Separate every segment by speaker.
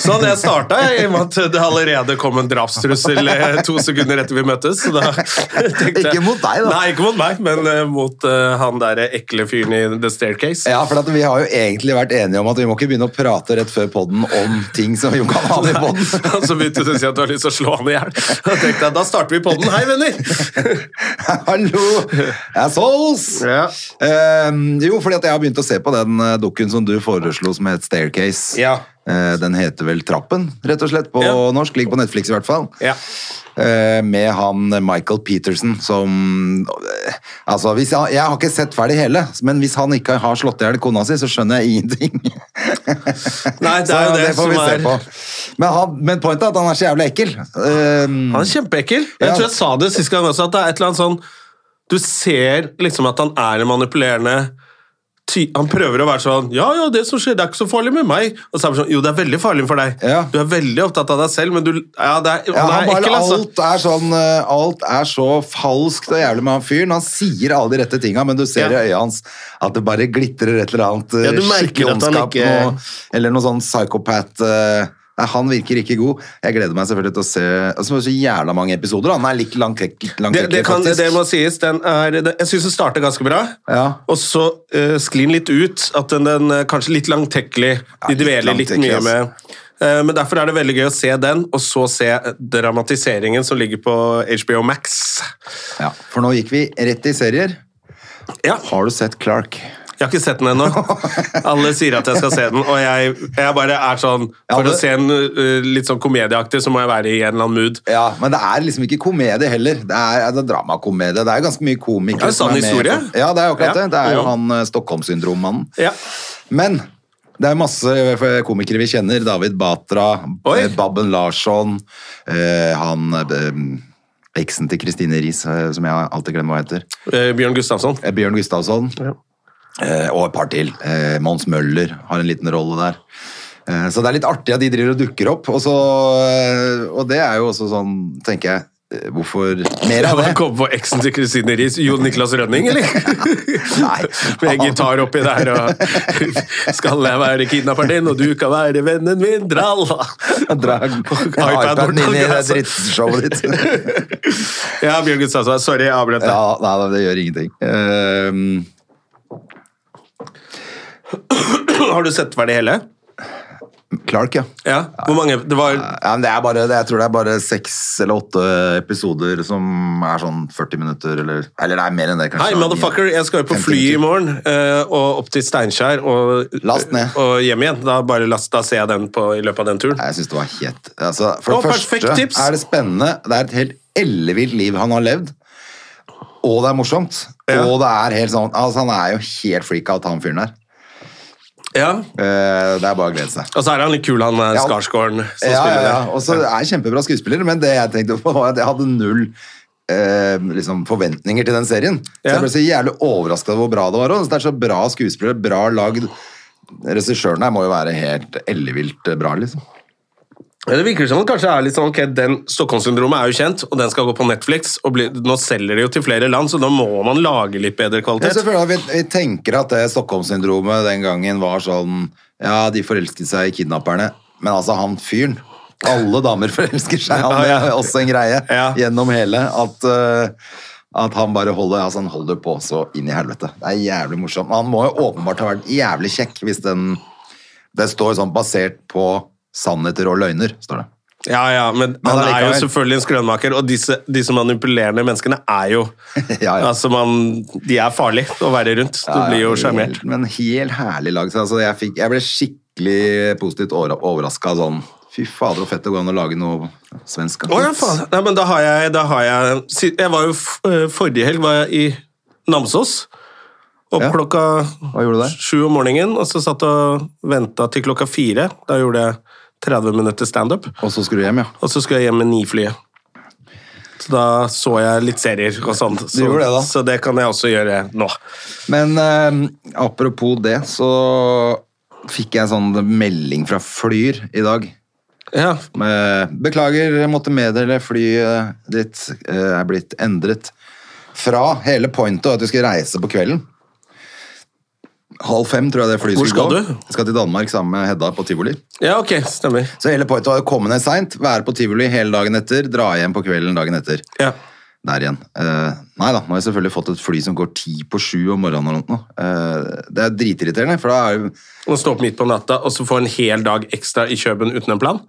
Speaker 1: Sånn jeg starta, i og med at det allerede kom en drapstrussel eh, to sekunder etter vi møttes. Så da tenkte jeg-
Speaker 2: Ikke mot deg, da.
Speaker 1: Nei, ikke mot meg, men eh, mot eh, han der ekle fyren i The Staircase.
Speaker 2: Ja, for at vi har jo egentlig vært enige om at vi må ikke begynne å prate rett før podden om ting som Jon kan ha i podden.
Speaker 1: Og så begynte du å si at du har lyst til å slå han i hjel. Da tenkte jeg da starter vi på den. Hei, venner!
Speaker 2: Hallo! Assholes!
Speaker 1: Ja.
Speaker 2: Ehm, jo, fordi at jeg har begynt å se på den eh, dukken som du foreslo som het Staircase.
Speaker 1: Ja.
Speaker 2: Eh, den heter vel Trappen, rett og slett, på
Speaker 1: Ja.
Speaker 2: norsk. Ligger på Netflix i hvert fall.
Speaker 1: Ja.
Speaker 2: Eh, med han eh, Michael Peterson som eh, Altså, hvis jeg, jeg har ikke sett ferdig hele, men hvis han ikke har slått i hjel kona si, så skjønner jeg ingenting.
Speaker 1: Nei, det
Speaker 2: Så
Speaker 1: er jo det,
Speaker 2: får
Speaker 1: som
Speaker 2: vi se
Speaker 1: er
Speaker 2: på. Men, han, men pointet er at han er så jævlig ekkel. Ehm,
Speaker 1: Han er kjempeekkel. Jeg
Speaker 2: Ja.
Speaker 1: tror jeg sa det sist gang også, at det er et eller annet sånn Du ser liksom at han er en manipulerende ty Han prøver å være sånn Ja, ja, det som skjer, det er ikke så farlig med meg. Og så er det sånn Jo, det er veldig farlig for deg.
Speaker 2: Ja.
Speaker 1: Du er veldig opptatt av deg selv, men du Ja, det er,
Speaker 2: ja,
Speaker 1: han
Speaker 2: han
Speaker 1: er
Speaker 2: bare,
Speaker 1: ekkel, altså.
Speaker 2: alt, er sånn, eh, alt er så falskt og jævlig med han fyren. Han sier alle de rette tinga, men du ser
Speaker 1: Ja.
Speaker 2: i øya hans at det bare glitrer et eller annet eh,
Speaker 1: Ja, du merker
Speaker 2: skikkelig
Speaker 1: at han
Speaker 2: ondskap,
Speaker 1: ikke-
Speaker 2: noe, eller noe sånn psykopat eh, Nei, Han virker ikke god. Jeg gleder meg selvfølgelig til å se altså, det er så jævla mange episoder. da. Han er litt langtekkelig,
Speaker 1: Det, det, kan,
Speaker 2: faktisk.
Speaker 1: det må sies. Den er, det, jeg syns den starter ganske bra,
Speaker 2: Ja.
Speaker 1: og så eh, sklir den litt ut. At den, den eh, kanskje litt langtekkelig. De
Speaker 2: litt
Speaker 1: dveler litt
Speaker 2: langtekkelig,
Speaker 1: mye med Eh, Men derfor er det veldig gøy å se den, og så se eh, dramatiseringen som ligger på HBO Max.
Speaker 2: ja. For nå gikk vi rett i serier.
Speaker 1: Ja,
Speaker 2: Har du sett Clark?
Speaker 1: jeg har ikke sett den ennå. Alle sier at jeg skal se den, og jeg, jeg bare er sånn
Speaker 2: Ja,
Speaker 1: For å
Speaker 2: det-
Speaker 1: se en eh, litt sånn komedieaktig, så må jeg være i en eller annen mood.
Speaker 2: Ja, men det er liksom ikke komedie heller. Det er, det er dramakomedie. Det er jo ganske mye
Speaker 1: Det
Speaker 2: komikere.
Speaker 1: er sann
Speaker 2: som med.
Speaker 1: historie.
Speaker 2: Ja, det er jo akkurat
Speaker 1: Ja.
Speaker 2: det. Det er jo
Speaker 1: Ja.
Speaker 2: han eh, Stockholm-syndrom-mannen.
Speaker 1: Ja.
Speaker 2: Men det er masse eh, komikere vi kjenner. David Batra,
Speaker 1: Oi.
Speaker 2: eh, Babben Larsson, eh, han eh, eksen til Kristine Riis, eh, som jeg alltid glemmer hva heter.
Speaker 1: Eh, Bjørn Gustavsson.
Speaker 2: Eh, Bjørn Gustavsson. Eh, og et par til. Eh, Mons Møller har en liten rolle der. Eh, så det er litt artig at de driver og dukker opp. Og, så, eh, og det er jo også sånn, tenker jeg eh, Hvorfor mer
Speaker 1: Jeg
Speaker 2: av det?
Speaker 1: bare kom på eksen til Kristine Riis. Jon Niklas Rønning, eller?
Speaker 2: Nei.
Speaker 1: Med gitar oppi der og Skal jeg være kidnapperen din, og du kan være vennen min, dralla!
Speaker 2: Dra iPaden inn i det drittshowet ditt.
Speaker 1: Ja, Bjørn Gustavsson. Sorry, jeg avbrøt deg.
Speaker 2: Ja, nei, det gjør ingenting. Ehm,
Speaker 1: Har du sett ferdig hele?
Speaker 2: Clark, ja.
Speaker 1: Ja. Hvor mange? Det var
Speaker 2: ja men det er bare, det, jeg tror det er bare seks eller åtte episoder som er sånn 40 minutter, eller Eller det er mer enn det, kanskje.
Speaker 1: Hei, motherfucker, jeg skal jo på fly i morgen, eh, og opp til Steinkjer og,
Speaker 2: Last ned.
Speaker 1: og hjem igjen. Da bare last, da ser jeg den på, i løpet av den turen.
Speaker 2: Nei, Jeg syns det var helt altså, For
Speaker 1: Og
Speaker 2: det
Speaker 1: perfekt
Speaker 2: første
Speaker 1: tips.
Speaker 2: er det spennende. Det er et helt ellevilt liv han har levd. Og det er morsomt.
Speaker 1: Ja.
Speaker 2: Og det er helt sånn Altså, han er jo helt freakout, han fyren der.
Speaker 1: Ja.
Speaker 2: Eh, det er bare å glede seg.
Speaker 1: Og så er han litt kul, han eh,
Speaker 2: Ja.
Speaker 1: Skarsgården som
Speaker 2: ja, ja,
Speaker 1: spiller
Speaker 2: ja.
Speaker 1: der.
Speaker 2: Og så er jeg kjempebra skuespiller, men det jeg tenkte på var at jeg hadde null eh, liksom forventninger til den serien. Så
Speaker 1: Ja.
Speaker 2: jeg ble så jævlig overrasket over hvor bra det var. Og det er så bra skuespillere, bra lagd. Regissøren her må jo være helt ellevilt bra, liksom.
Speaker 1: Men Det virker som det kanskje er litt sånn, ok, den Stockholm-syndromet er jo kjent, og den skal gå på Netflix, og bli, nå selger det jo til flere land, så da må man lage litt bedre
Speaker 2: Jeg
Speaker 1: kvalitet.
Speaker 2: selvfølgelig at vi, vi tenker at det Stockholm-syndromet den gangen var sånn Ja, de forelsket seg i kidnapperne, men altså, han fyren Alle damer forelsker seg, han det
Speaker 1: Ja,
Speaker 2: er
Speaker 1: ja.
Speaker 2: også en greie
Speaker 1: Ja.
Speaker 2: gjennom hele. At, eh, at han bare holder, altså, han holder på så inn i helvete. Det er jævlig morsomt. Han må jo åpenbart ha vært jævlig kjekk hvis den Det står sånn basert på sannheter og løgner, står det.
Speaker 1: Ja, ja, men,
Speaker 2: Men
Speaker 1: han er jo
Speaker 2: allikevel.
Speaker 1: selvfølgelig en skrønmaker, og disse, disse manipulerende menneskene er jo
Speaker 2: Ja, ja.
Speaker 1: Altså, man, De er farlige å være rundt. Du
Speaker 2: Ja,
Speaker 1: blir jo
Speaker 2: helt-
Speaker 1: sjarmert.
Speaker 2: Men helt herlig lag. Så altså, jeg, fikk, jeg ble skikkelig positivt overraska. Sånn. Fy fader, så fett det går an å lage noe svensk.
Speaker 1: Å ja, faen. Nei, men da har jeg, da har jeg si- Jeg var jo f- eh, Forrige helg var jeg i Namsos. Opp
Speaker 2: Ja.
Speaker 1: klokka
Speaker 2: Hva gjorde du der?
Speaker 1: sju om morgenen, og så satt og venta til klokka fire. Da gjorde jeg 30 minutter standup.
Speaker 2: Og så skulle du hjem, ja.
Speaker 1: Og så skulle jeg hjem med Niflyet. Så da så jeg litt serier og sånn. Så,
Speaker 2: gjorde det da.
Speaker 1: så det kan jeg også gjøre nå.
Speaker 2: Men eh, apropos det, så fikk jeg sånn melding fra Flyr i dag.
Speaker 1: Ja,
Speaker 2: Eh, Beklager, jeg måtte meddele flyet ditt eh, er blitt endret fra hele pointet at du skal reise på kvelden. Halv fem, tror jeg det flyet
Speaker 1: Hvor skal
Speaker 2: gå.
Speaker 1: du?
Speaker 2: Jeg skal til Danmark sammen med Hedda på tivoli.
Speaker 1: ja ok, stemmer.
Speaker 2: Så hele pointet var å komme ned seint, være på tivoli hele dagen etter, dra hjem på kvelden dagen etter.
Speaker 1: Ja.
Speaker 2: Der igjen. Eh, nei da, nå har jeg selvfølgelig fått et fly som går ti på sju om morgenen eller noe. Eh, det er dritirriterende, for da er jo
Speaker 1: Og stå opp midt på natta og så få en hel dag ekstra i Kjøben uten en plan.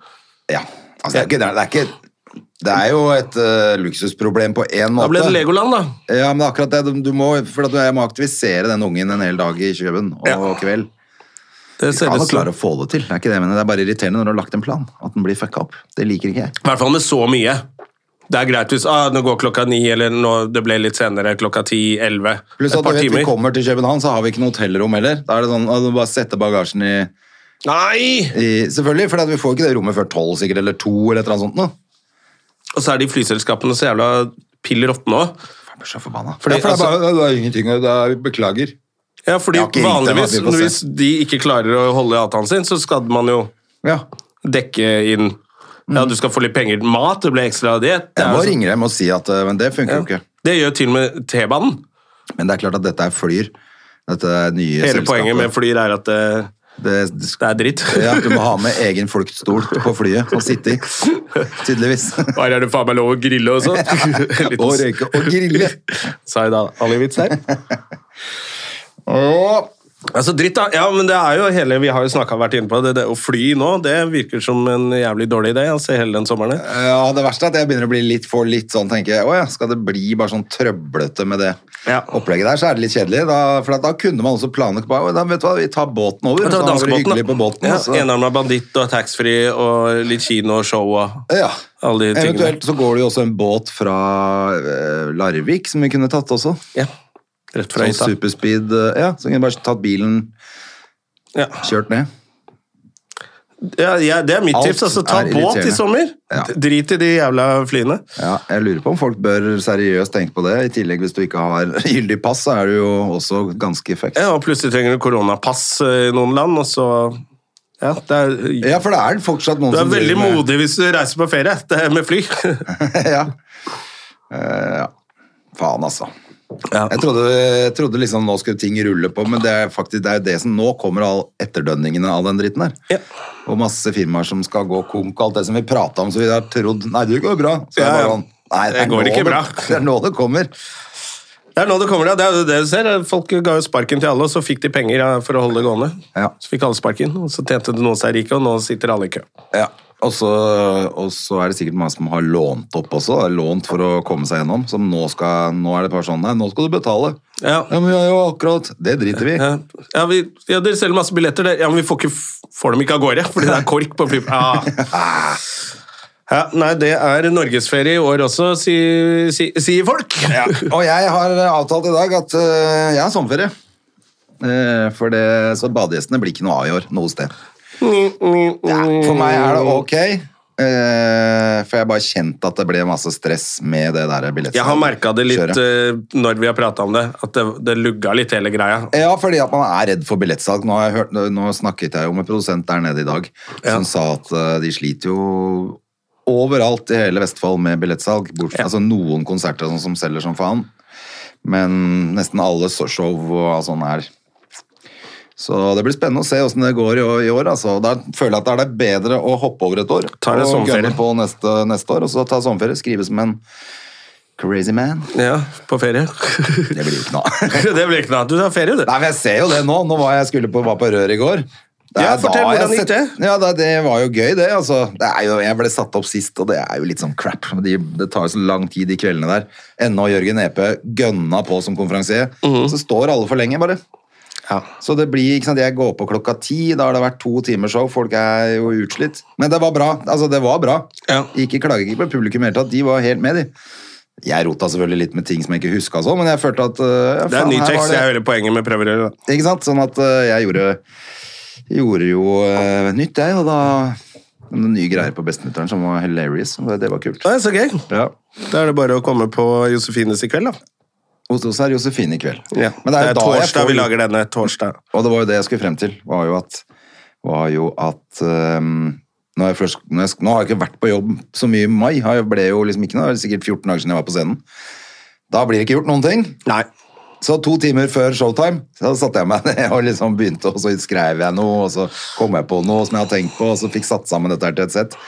Speaker 2: Ja. Altså, det er, ikke, det, er ikke, det er jo et eh, luksusproblem på én måte.
Speaker 1: Da ble det Legoland, da.
Speaker 2: Ja, men det er akkurat det. Du- Du må, for at jeg må aktivisere den ungen en hel dag i Kjøben og
Speaker 1: Ja.
Speaker 2: kveld.
Speaker 1: Det ser
Speaker 2: Kan
Speaker 1: ut
Speaker 2: jo
Speaker 1: som
Speaker 2: klare å få det til. Det er ikke det jeg mener. Det er bare irriterende når du har lagt en plan. At den blir fucka opp. Det liker ikke jeg.
Speaker 1: I hvert fall med så mye. Det er greit hvis ah, nå går klokka ni, eller nå, det ble litt senere, klokka ti, elleve. Et
Speaker 2: Pluss at du
Speaker 1: par
Speaker 2: vet, vi
Speaker 1: timer.
Speaker 2: kommer til København, så har vi ikke noe hotellrom heller. Da er det sånn, ah, du bare setter bagasjen i,
Speaker 1: Nei!
Speaker 2: i Selvfølgelig, for at vi får ikke det rommet før tolv, sikkert, eller to, eller et eller annet sånt noe.
Speaker 1: Og så er de flyselskapene så jævla pill råtne òg.
Speaker 2: Jeg blir så forbanna.
Speaker 1: Fordi, altså-
Speaker 2: ja, for det, er bare, det er ingenting å det er- Beklager.
Speaker 1: Ja, fordi
Speaker 2: Jeg har ikke ringt dem,
Speaker 1: vanligvis
Speaker 2: da, vi får se.
Speaker 1: hvis de ikke klarer å holde avtalen sin, så skal man jo
Speaker 2: Ja.
Speaker 1: dekke inn Ja, du skal få litt penger. Mat, det blir ekstra diett.
Speaker 2: Mm.
Speaker 1: Det,
Speaker 2: Jeg må
Speaker 1: er jo sånn-
Speaker 2: ringe dem og si at eh, Men det funker jo ikke.
Speaker 1: det gjør til og med T-banen.
Speaker 2: Men det er klart at dette er Flyr. Dette er nye
Speaker 1: Hele
Speaker 2: selskapet.
Speaker 1: poenget med flyer er at eh,
Speaker 2: det,
Speaker 1: det,
Speaker 2: det
Speaker 1: det er dritt.
Speaker 2: Ja, du må ha med egen fluktstol på flyet og sitte i. Tydeligvis.
Speaker 1: Her er det faen meg lov å grille og sånn. Liten-
Speaker 2: Og røyke og grille.
Speaker 1: Sa jeg da alivits der?
Speaker 2: Åh.
Speaker 1: Altså dritt da, ja, men det er jo hele, Vi har jo snakket, vært inne på det, det å fly nå det virker som en jævlig dårlig idé. Altså, hele den sommeren. her.
Speaker 2: Ja, Eh, det verste er at jeg begynner å bli litt for litt sånn, tenker jeg. Å ja, skal det bli bare sånn trøblete med det
Speaker 1: Ja.
Speaker 2: opplegget der, så er det litt kjedelig. Da, for at da kunne man også planlagt bare, «Å, da vet du hva, vi tar båten over. Så
Speaker 1: Og ta
Speaker 2: har det vært
Speaker 1: danskebåten,
Speaker 2: hyggelig på båten. altså.
Speaker 1: Ja,
Speaker 2: og så-
Speaker 1: Enarma banditt og taxfree og litt kino og show og
Speaker 2: Ja.
Speaker 1: alle de tingene.
Speaker 2: Eventuelt så går det jo også en båt fra eh, Larvik som vi kunne tatt også.
Speaker 1: Ja, rett fra
Speaker 2: Sånn
Speaker 1: hytta.
Speaker 2: superspeed, eh, ja, så kunne vi bare tatt bilen,
Speaker 1: Ja.
Speaker 2: kjørt ned.
Speaker 1: Ja, ja, det er mitt
Speaker 2: Alt
Speaker 1: tips. altså Ta
Speaker 2: er
Speaker 1: båt i
Speaker 2: irriterende.
Speaker 1: sommer.
Speaker 2: Ja.
Speaker 1: Drit i de jævla flyene.
Speaker 2: Ja, jeg lurer på om folk bør seriøst tenke på det. I tillegg, hvis du ikke har gyldig pass, så er du jo også ganske fucked.
Speaker 1: Ja, og Plutselig trenger du koronapass eh, i noen land, og så Ja, det er,
Speaker 2: Ja, for det er fortsatt noen
Speaker 1: du er
Speaker 2: som
Speaker 1: veldig
Speaker 2: driver med-
Speaker 1: modig hvis du reiser på ferie det er med fly.
Speaker 2: ja. Eh, ja. Faen, altså.
Speaker 1: Ja.
Speaker 2: Jeg trodde, jeg trodde liksom nå skulle ting rulle på, men det er faktisk det er jo det som nå kommer all etterdønningene av den dritten der.
Speaker 1: Ja.
Speaker 2: Og masse firmaer som skal gå konk, alt det som vi prata om, så vi har trodd Nei, det går bra. Så er det
Speaker 1: Ja, ja.
Speaker 2: bare sånn Nei,
Speaker 1: Det går
Speaker 2: nå
Speaker 1: ikke bra.
Speaker 2: Det er nå det kommer.
Speaker 1: Det er nå det kommer, ja. Det er jo det du ser. Folk ga jo sparken til alle, og så fikk de penger ja, for å holde det gående.
Speaker 2: Ja.
Speaker 1: Så fikk alle sparken, og så tjente det noen seg rike, og nå sitter alle i kø.
Speaker 2: Ja, og så, og så er det sikkert mange som har lånt opp også, da. lånt for å komme seg gjennom, som nå skal, nå er det bare sånn, nei, nå skal du betale.
Speaker 1: Ja.
Speaker 2: men vi har jo akkurat, det driter vi. i.
Speaker 1: Ja, ja, vi, ja Dere selger masse billetter, det- ja, men vi får, ikke, f- får dem ikke av gårde fordi det er kork på flyplassen. Ja. Ja, nei, det er norgesferie i år også, sier si, sier folk.
Speaker 2: Og jeg har avtalt i dag at øh, jeg har sommerferie. Eh, for det, så badegjestene blir ikke noe av i år, noe sted.
Speaker 1: Mm,
Speaker 2: Ja, for meg er det ok, eh, for jeg har bare kjent at det ble masse stress med det der billetten.
Speaker 1: Jeg har merka det litt
Speaker 2: Kjøret.
Speaker 1: eh, når vi har prata om det, at det, det lugga litt hele greia.
Speaker 2: Ja, fordi at man er redd for billettsalg. Nå, har jeg hørt, nå snakket jeg jo med produsent der nede i dag,
Speaker 1: Ja.
Speaker 2: som sa at eh, de sliter jo overalt i hele Vestfold med billettsalg. Bort, Altså noen konserter og sånn som selger som faen, men nesten alle så- show og sånn er. Så det blir spennende å se åssen det går i, år- i år. Altså. Da føler jeg at det er bedre å hoppe over et år
Speaker 1: Ta deg
Speaker 2: og
Speaker 1: sommerferie.
Speaker 2: gønne på neste, neste år, og så ta sommerferie. Skrive som en crazy man.
Speaker 1: Ja, på ferie.
Speaker 2: Det blir jo ikke noe av.
Speaker 1: det blir ikke noe. Du tar ferie, du.
Speaker 2: Nei, men jeg ser jo det nå. Nå var jeg skulle på, var på rør i går. Det
Speaker 1: Ja,
Speaker 2: er
Speaker 1: fortell
Speaker 2: da jeg
Speaker 1: hvordan gikk
Speaker 2: sett- Ja, det, det var jo gøy, det. Altså. det er jo, jeg ble satt opp sist, og det er jo litt sånn crap. De, det tar jo så lang tid, de kveldene der. Ennå Jørgen Epe gønna på som konferansier.
Speaker 1: Mhm.
Speaker 2: Så står alle for lenge, bare.
Speaker 1: Ja.
Speaker 2: Så det blir, ikke sant, Jeg går på klokka ti, da har det vært to timer show, folk er jo utslitt. Men det var bra. altså det var bra.
Speaker 1: Ja.
Speaker 2: Ikke klager ikke på publikum i det hele tatt, de var helt med, de. Jeg rota selvfølgelig litt med ting som jeg ikke huska sånn, men jeg følte at øh, ja,
Speaker 1: Det er
Speaker 2: faen,
Speaker 1: ny
Speaker 2: her var
Speaker 1: tekst.
Speaker 2: det-
Speaker 1: Det er hele poenget med prøverøret. da.
Speaker 2: ikke sant? Sånn at eh, jeg gjorde, gjorde jo eh, nytt, jeg, og da Noen nye greier på bestemutteren som var hilarious. og Det, det var kult.
Speaker 1: Nei, så gøy.
Speaker 2: Ja.
Speaker 1: Da er det bare å komme på Josefines i kveld, da.
Speaker 2: Hos oss er Josefine i kveld.
Speaker 1: Ja.
Speaker 2: Men det er, jo da jeg
Speaker 1: torsdag
Speaker 2: får-
Speaker 1: vi lager denne. Torsdag.
Speaker 2: Og det var jo det jeg skulle frem til, var jo at, var jo at ehm, når jeg først, når jeg, sk- Nå har jeg ikke vært på jobb så mye i mai. Jeg ble jo liksom ikke noe, det er sikkert 14 dager siden jeg var på scenen. Da blir det ikke gjort noen ting.
Speaker 1: Nei.
Speaker 2: Så to timer før showtime så satte jeg meg ned og liksom begynte, og så skrev jeg noe, og så kom jeg på noe som jeg hadde tenkt på, og så fikk satt sammen dette her til et sett.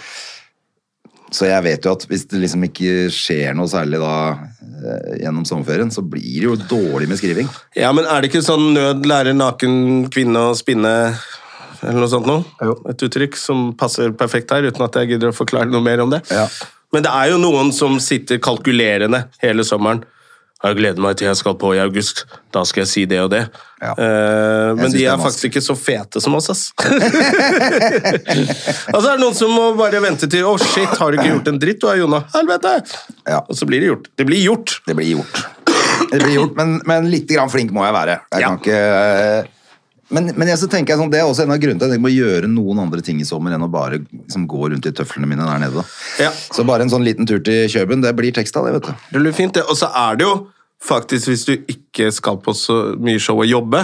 Speaker 2: Så jeg vet jo at hvis det liksom ikke skjer noe særlig da eh, gjennom sommerferien, så blir det jo dårlig med skriving.
Speaker 1: Ja, men er det ikke sånn nød lærer naken kvinne å spinne eller noe sånt noe? Et uttrykk som passer perfekt her, uten at jeg gidder å forklare noe mer om det.
Speaker 2: Ja.
Speaker 1: Men det er jo noen som sitter kalkulerende hele sommeren. Jeg gleder meg til jeg skal på i august. Da skal jeg si det og det.
Speaker 2: Ja.
Speaker 1: Eh, men
Speaker 2: synes
Speaker 1: de
Speaker 2: det er
Speaker 1: er faktisk ikke så fete som oss, ass. altså, er det noen som må bare vente til Å, shit, har du ikke gjort en dritt, du da, Jonna? Helvete!
Speaker 2: Ja.
Speaker 1: Og så blir det gjort. Det blir gjort.
Speaker 2: Det blir gjort. Det blir gjort, men, men litt grann flink må jeg være. Jeg
Speaker 1: Ja.
Speaker 2: kan ikke... Men, men jeg så tenker jeg sånn, det er også en av grunnene til at jeg må gjøre noen andre ting i sommer enn å bare liksom, gå rundt i tøflene mine der nede. da.
Speaker 1: Ja.
Speaker 2: Så bare en sånn liten tur til Kjøben, det blir tekst av det, vet du.
Speaker 1: Det blir fint, det. Og så er det jo faktisk, hvis du ikke skal på så mye show og jobbe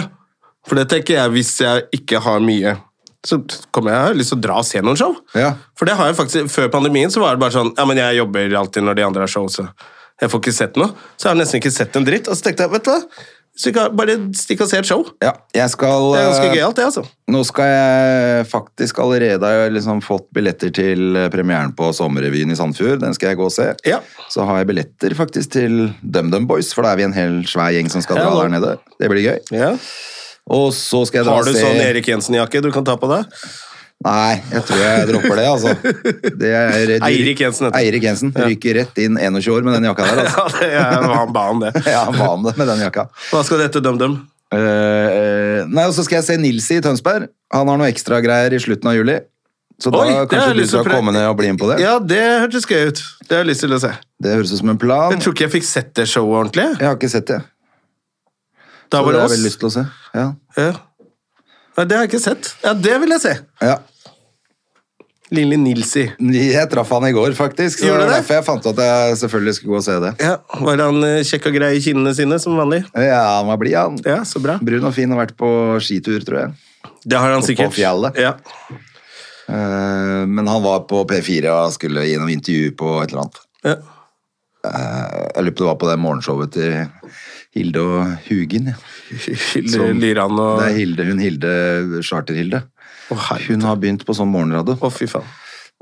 Speaker 1: For det tenker jeg, hvis jeg ikke har mye, så kommer jeg jeg har lyst til å dra og se noen show.
Speaker 2: Ja.
Speaker 1: For det har jeg faktisk, Før pandemien så var det bare sånn Ja, men jeg jobber alltid når de andre har show, så jeg får ikke sett noe. Så jeg har nesten ikke sett en dritt. Og så tenkte jeg, vet du hva, hvis du ikke har, bare stikk og se et show.
Speaker 2: Ja, jeg skal...
Speaker 1: Det er ganske
Speaker 2: eh,
Speaker 1: gøyalt, det, altså.
Speaker 2: Nå skal jeg faktisk allerede ha liksom fått billetter til eh, premieren på Sommerrevyen i Sandfjord. Den skal jeg gå og se.
Speaker 1: Ja.
Speaker 2: Så har jeg billetter faktisk til DumDum Boys, for da er vi en hel svær gjeng som skal
Speaker 1: Ja,
Speaker 2: dra
Speaker 1: da.
Speaker 2: der nede. Det blir gøy.
Speaker 1: Ja.
Speaker 2: Og så skal jeg dra
Speaker 1: Har
Speaker 2: og
Speaker 1: du
Speaker 2: se
Speaker 1: sånn Erik Jensen-jakke du kan ta på deg?
Speaker 2: Nei, jeg tror jeg dropper det, altså. Det er redd-
Speaker 1: Eirik Jensen heter han.
Speaker 2: Eirik Jensen. Ryker rett inn 21 år med den jakka der, altså.
Speaker 1: Ja, det er, han ba om det.
Speaker 2: Ja, hva om det med den jakka?
Speaker 1: Hva skal det hete, DumDum?
Speaker 2: Eh, eh, nei, og så skal jeg se Nilsi i Tønsberg. Han har noe ekstragreier i slutten av juli. Så da
Speaker 1: Oi, det har jeg
Speaker 2: kanskje du
Speaker 1: lyst til å
Speaker 2: skal
Speaker 1: prøve.
Speaker 2: komme ned og bli med på det.
Speaker 1: Ja, det hørtes gøy ut. Det har jeg lyst til å se.
Speaker 2: Det høres ut som en plan.
Speaker 1: Jeg tror ikke jeg fikk sett det showet ordentlig.
Speaker 2: Jeg har ikke sett det.
Speaker 1: Da
Speaker 2: Så
Speaker 1: var
Speaker 2: det
Speaker 1: det
Speaker 2: har jeg veldig
Speaker 1: oss.
Speaker 2: lyst til å se. Ja.
Speaker 1: Ja. Nei, det har jeg ikke sett. Ja, det vil jeg se.
Speaker 2: ja.
Speaker 1: Lilly Nilsi.
Speaker 2: Jeg traff han i går, faktisk. Så
Speaker 1: Gjorde
Speaker 2: det var
Speaker 1: det?
Speaker 2: derfor jeg fant ut at jeg selvfølgelig skulle gå og se det.
Speaker 1: Ja, Var han eh, kjekk og grei i kinnene sine, som vanlig?
Speaker 2: Ja, han var blid, han.
Speaker 1: Ja, så bra.
Speaker 2: Brun og fin har vært på skitur, tror jeg.
Speaker 1: Det har han
Speaker 2: Oppå
Speaker 1: sikkert.
Speaker 2: fjellet.
Speaker 1: Ja.
Speaker 2: Eh, Men han var på P4 og skulle gjennom intervju på et eller annet.
Speaker 1: Ja.
Speaker 2: Eh, Jeg lurer på det var på det morgenshowet til Hilde og Hugin. Ja.
Speaker 1: Hilde Lyran og
Speaker 2: Det er Hilde, hun Hilde Charter-Hilde.
Speaker 1: Å, herregud.
Speaker 2: Hun har begynt på sånn morgenradio.
Speaker 1: Å, fy faen.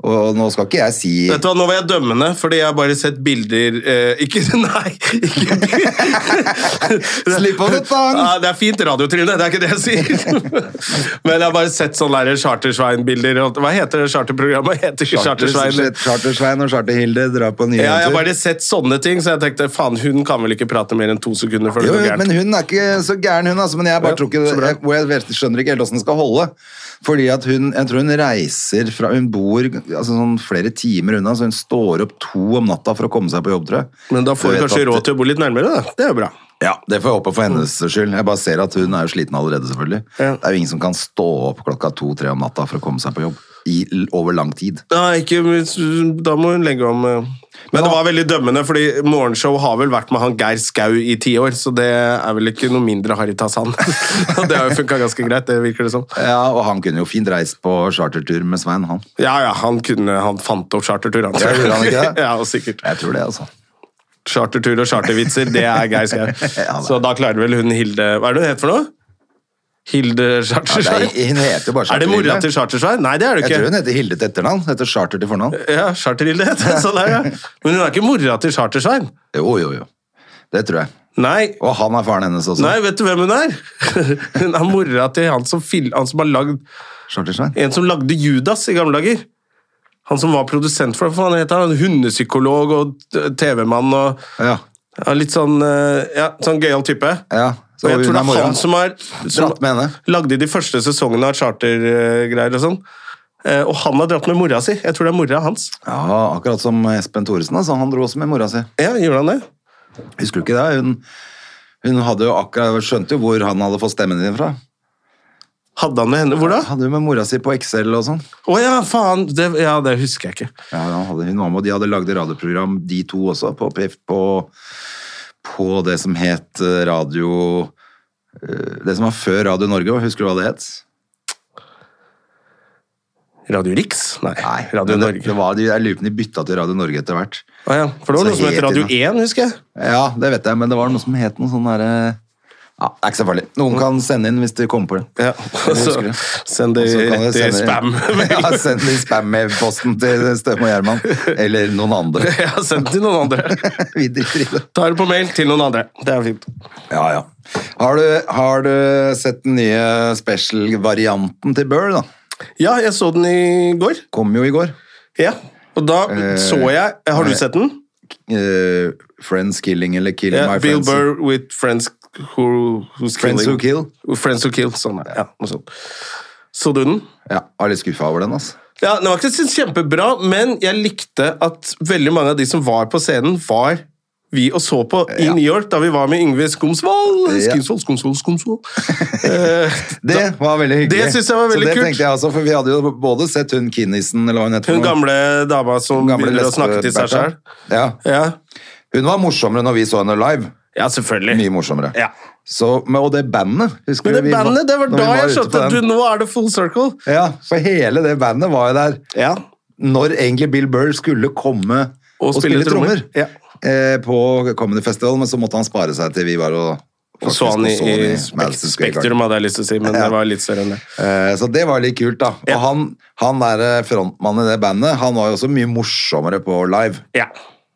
Speaker 2: Og og nå skal ikke jeg si
Speaker 1: Vet du hva, Nå var jeg dømmende, fordi jeg har bare sett bilder eh, Ikke Nei! ikke
Speaker 2: Slipp på det, fang!
Speaker 1: Ja, det er fint radiotryne, det er ikke det jeg sier. Men jeg har bare sett sånne der Chartersvein-bilder. og- Hva heter det charterprogrammet? Heter ikke Chartersvein?
Speaker 2: Charter-Svein og Charter-Hilde drar på nye
Speaker 1: Ja, jeg har
Speaker 2: eventyr.
Speaker 1: bare sett sånne ting, så jeg tenkte faen, hun kan vel ikke prate mer enn to sekunder før det
Speaker 2: Jo,
Speaker 1: går
Speaker 2: jo, men
Speaker 1: gærent.
Speaker 2: hun er ikke så gæren, hun. Altså, men jeg bare
Speaker 1: Ja,
Speaker 2: tror ikke
Speaker 1: så bra.
Speaker 2: jeg, og jeg vet- skjønner ikke helt åssen det skal holde. Fordi at hun, jeg tror hun reiser fra Hun bor altså, sånn flere timer unna, så hun står opp to om natta for å komme seg på jobb, tror jeg.
Speaker 1: Men da får
Speaker 2: Jeg
Speaker 1: hun
Speaker 2: vet
Speaker 1: kanskje
Speaker 2: at-
Speaker 1: råd til å bo litt nærmere, da. Det er jo bra.
Speaker 2: Ja, det får jeg håpe for hennes skyld. Jeg bare ser at hun er jo sliten allerede, selvfølgelig.
Speaker 1: Ja.
Speaker 2: Det er jo ingen som kan stå opp klokka to-tre om natta for å komme seg på jobb. I, over lang tid.
Speaker 1: Nei, ikke, da må hun legge om eh. Men det var veldig dømmende, fordi morgenshow har vel vært med han Geir Skau i ti år, så det er vel ikke noe mindre Haritas han. Og det har jo funka ganske greit, det virker det som.
Speaker 2: Ja, og han kunne jo fint reist på chartertur med Svein, han.
Speaker 1: Ja ja, han kunne Han fant opp chartertur, han.
Speaker 2: Ja, gjorde han ikke det?
Speaker 1: ja, og sikkert.
Speaker 2: Jeg tror det, altså.
Speaker 1: Chartertur og chartervitser, det er Geir Skau.
Speaker 2: Ja,
Speaker 1: Så da klarer vel hun Hilde Hva er det hun heter for noe? Hilde
Speaker 2: Ja, det er,
Speaker 1: Chartersvein?
Speaker 2: hun heter jo bare
Speaker 1: Er det mora
Speaker 2: Charter-Hilde.
Speaker 1: til Chartersveien? Nei, det er det
Speaker 2: Jeg tror
Speaker 1: ikke. Eh.
Speaker 2: hun heter Hilde til etternavn. Heter Charter til fornavn.
Speaker 1: Ja, Charterhilde heter det. Sånn er det. Men hun er ikke mora til Chartersveien.
Speaker 2: Jo, jo, jo. Det tror jeg.
Speaker 1: Nei.
Speaker 2: Og han er faren hennes også.
Speaker 1: Nei, vet du hvem hun er? Hun er mora til han som, fil, han som har lagd
Speaker 2: Charter-Svein.
Speaker 1: En som lagde Judas i gamle dager. Han som var produsent for det. Hva faen heter han? Hundepsykolog og t- TV-mann og
Speaker 2: Ja.
Speaker 1: ja, litt sånn, eh, ja, sånn gøyal type.
Speaker 2: ja.
Speaker 1: Og jeg tror det er han
Speaker 2: som
Speaker 1: som har som
Speaker 2: Dratt med henne.
Speaker 1: lagde de første sesongene av chartergreier og sånn. Eh, Og han har dratt med mora si. Jeg tror det er mora hans.
Speaker 2: Ja, akkurat som Espen Thoresen. Altså. Han dro også med mora si.
Speaker 1: Ja, gjorde han det?
Speaker 2: Husker du ikke det? Hun, hun hadde jo akkurat, skjønte jo hvor han hadde fått stemmen din fra.
Speaker 1: Hadde han med henne? Hvor da?
Speaker 2: Hadde hun med mora si på Excel og sånn.
Speaker 1: Å ja, faen! Det, ja, det husker jeg ikke.
Speaker 2: Ja, han hadde hun mamma, og de hadde lagd et radioprogram, de to også, på, P- på, på det som het eh, radio eh, Det som var før Radio Norge, husker du hva det het?
Speaker 1: Radio Rix? Nei. Radio
Speaker 2: men det,
Speaker 1: Norge.
Speaker 2: Det var, de, jeg lurer på om de bytta til Radio Norge etter hvert.
Speaker 1: Å ja, for det var
Speaker 2: Så
Speaker 1: noe som het
Speaker 2: het
Speaker 1: Radio
Speaker 2: det
Speaker 1: 1, husker jeg.
Speaker 2: Ja, det vet jeg, men det var noe som het noe sånn derre ja, det er ikke så farlig.
Speaker 1: Mm.
Speaker 2: Noen kan sende inn hvis de kommer på det.
Speaker 1: Ja,
Speaker 2: Jeg
Speaker 1: så
Speaker 2: husker det.
Speaker 1: send det
Speaker 2: Og så kan
Speaker 1: rett
Speaker 2: dere
Speaker 1: i spam.
Speaker 2: sende- ja, send det i spam-posten til Støme og Gjerman. Eller noen andre.
Speaker 1: Ja, send det til noen andre.
Speaker 2: Vi driter i det.
Speaker 1: Ta det på mail til noen andre. Det er fint.
Speaker 2: Ja, ja. Har du, har du sett den nye special-varianten til Burr, da?
Speaker 1: Ja, jeg så den i går.
Speaker 2: Kom jo i går.
Speaker 1: Ja, og da så jeg Har
Speaker 2: Eh,
Speaker 1: du
Speaker 2: nei.
Speaker 1: sett den?
Speaker 2: Eh, friends Killing eller Killing
Speaker 1: Ja,
Speaker 2: My
Speaker 1: Bill
Speaker 2: Friends.
Speaker 1: Burr with Friends Who Who's
Speaker 2: Friends Who
Speaker 1: Killing.
Speaker 2: Kill.
Speaker 1: Friends Who Kill, sånn er det. ja, noe sånt. Så du den?
Speaker 2: Ja, jeg er litt skuffa over den, altså.
Speaker 1: Ja, Den var ikke så kjempebra, men jeg likte at veldig mange av de som var på scenen, var vi og så på i New York da vi var med Yngve Skomsvold.
Speaker 2: Ja.
Speaker 1: Skomsvold, Skomsvold, Skomsvold. Eh,
Speaker 2: Det var veldig hyggelig.
Speaker 1: Det synes jeg var
Speaker 2: Så
Speaker 1: veldig
Speaker 2: det
Speaker 1: kult.
Speaker 2: tenkte jeg altså, for vi hadde jo både sett hun Kinnison, eller hva hun heter. for
Speaker 1: Hun
Speaker 2: noe.
Speaker 1: gamle dama som
Speaker 2: Hun gamle
Speaker 1: begynner å
Speaker 2: lesbe-
Speaker 1: snakke til seg
Speaker 2: Bertha.
Speaker 1: sjøl.
Speaker 2: Ja.
Speaker 1: Ja.
Speaker 2: Hun var morsommere når vi så henne live.
Speaker 1: ja, selvfølgelig.
Speaker 2: Mye morsommere.
Speaker 1: Ja.
Speaker 2: Så, men, og det bandet, husker
Speaker 1: Men det
Speaker 2: du? vi var-
Speaker 1: bandet, det var
Speaker 2: når
Speaker 1: da
Speaker 2: vi var
Speaker 1: jeg
Speaker 2: ute
Speaker 1: skjønte
Speaker 2: på
Speaker 1: at du,
Speaker 2: den.
Speaker 1: nå er det full circle.
Speaker 2: Ja, for hele det bandet var jo der.
Speaker 1: Ja.
Speaker 2: når egentlig Bill Burr skulle komme og, spille, trommer,
Speaker 1: Ja.
Speaker 2: eh, på Comedy Festival, men så måtte han spare seg til vi var og
Speaker 1: Og så han i,
Speaker 2: faktisk
Speaker 1: i
Speaker 2: så han i Madison Square Garden.
Speaker 1: Spektrum, hadde jeg lyst til å si, men
Speaker 2: Ja.
Speaker 1: det var litt større enn det.
Speaker 2: Eh, Så det var litt kult, da. Og
Speaker 1: Ja.
Speaker 2: han, han der eh, frontmannen i det bandet, han var jo også mye morsommere på live.
Speaker 1: Ja.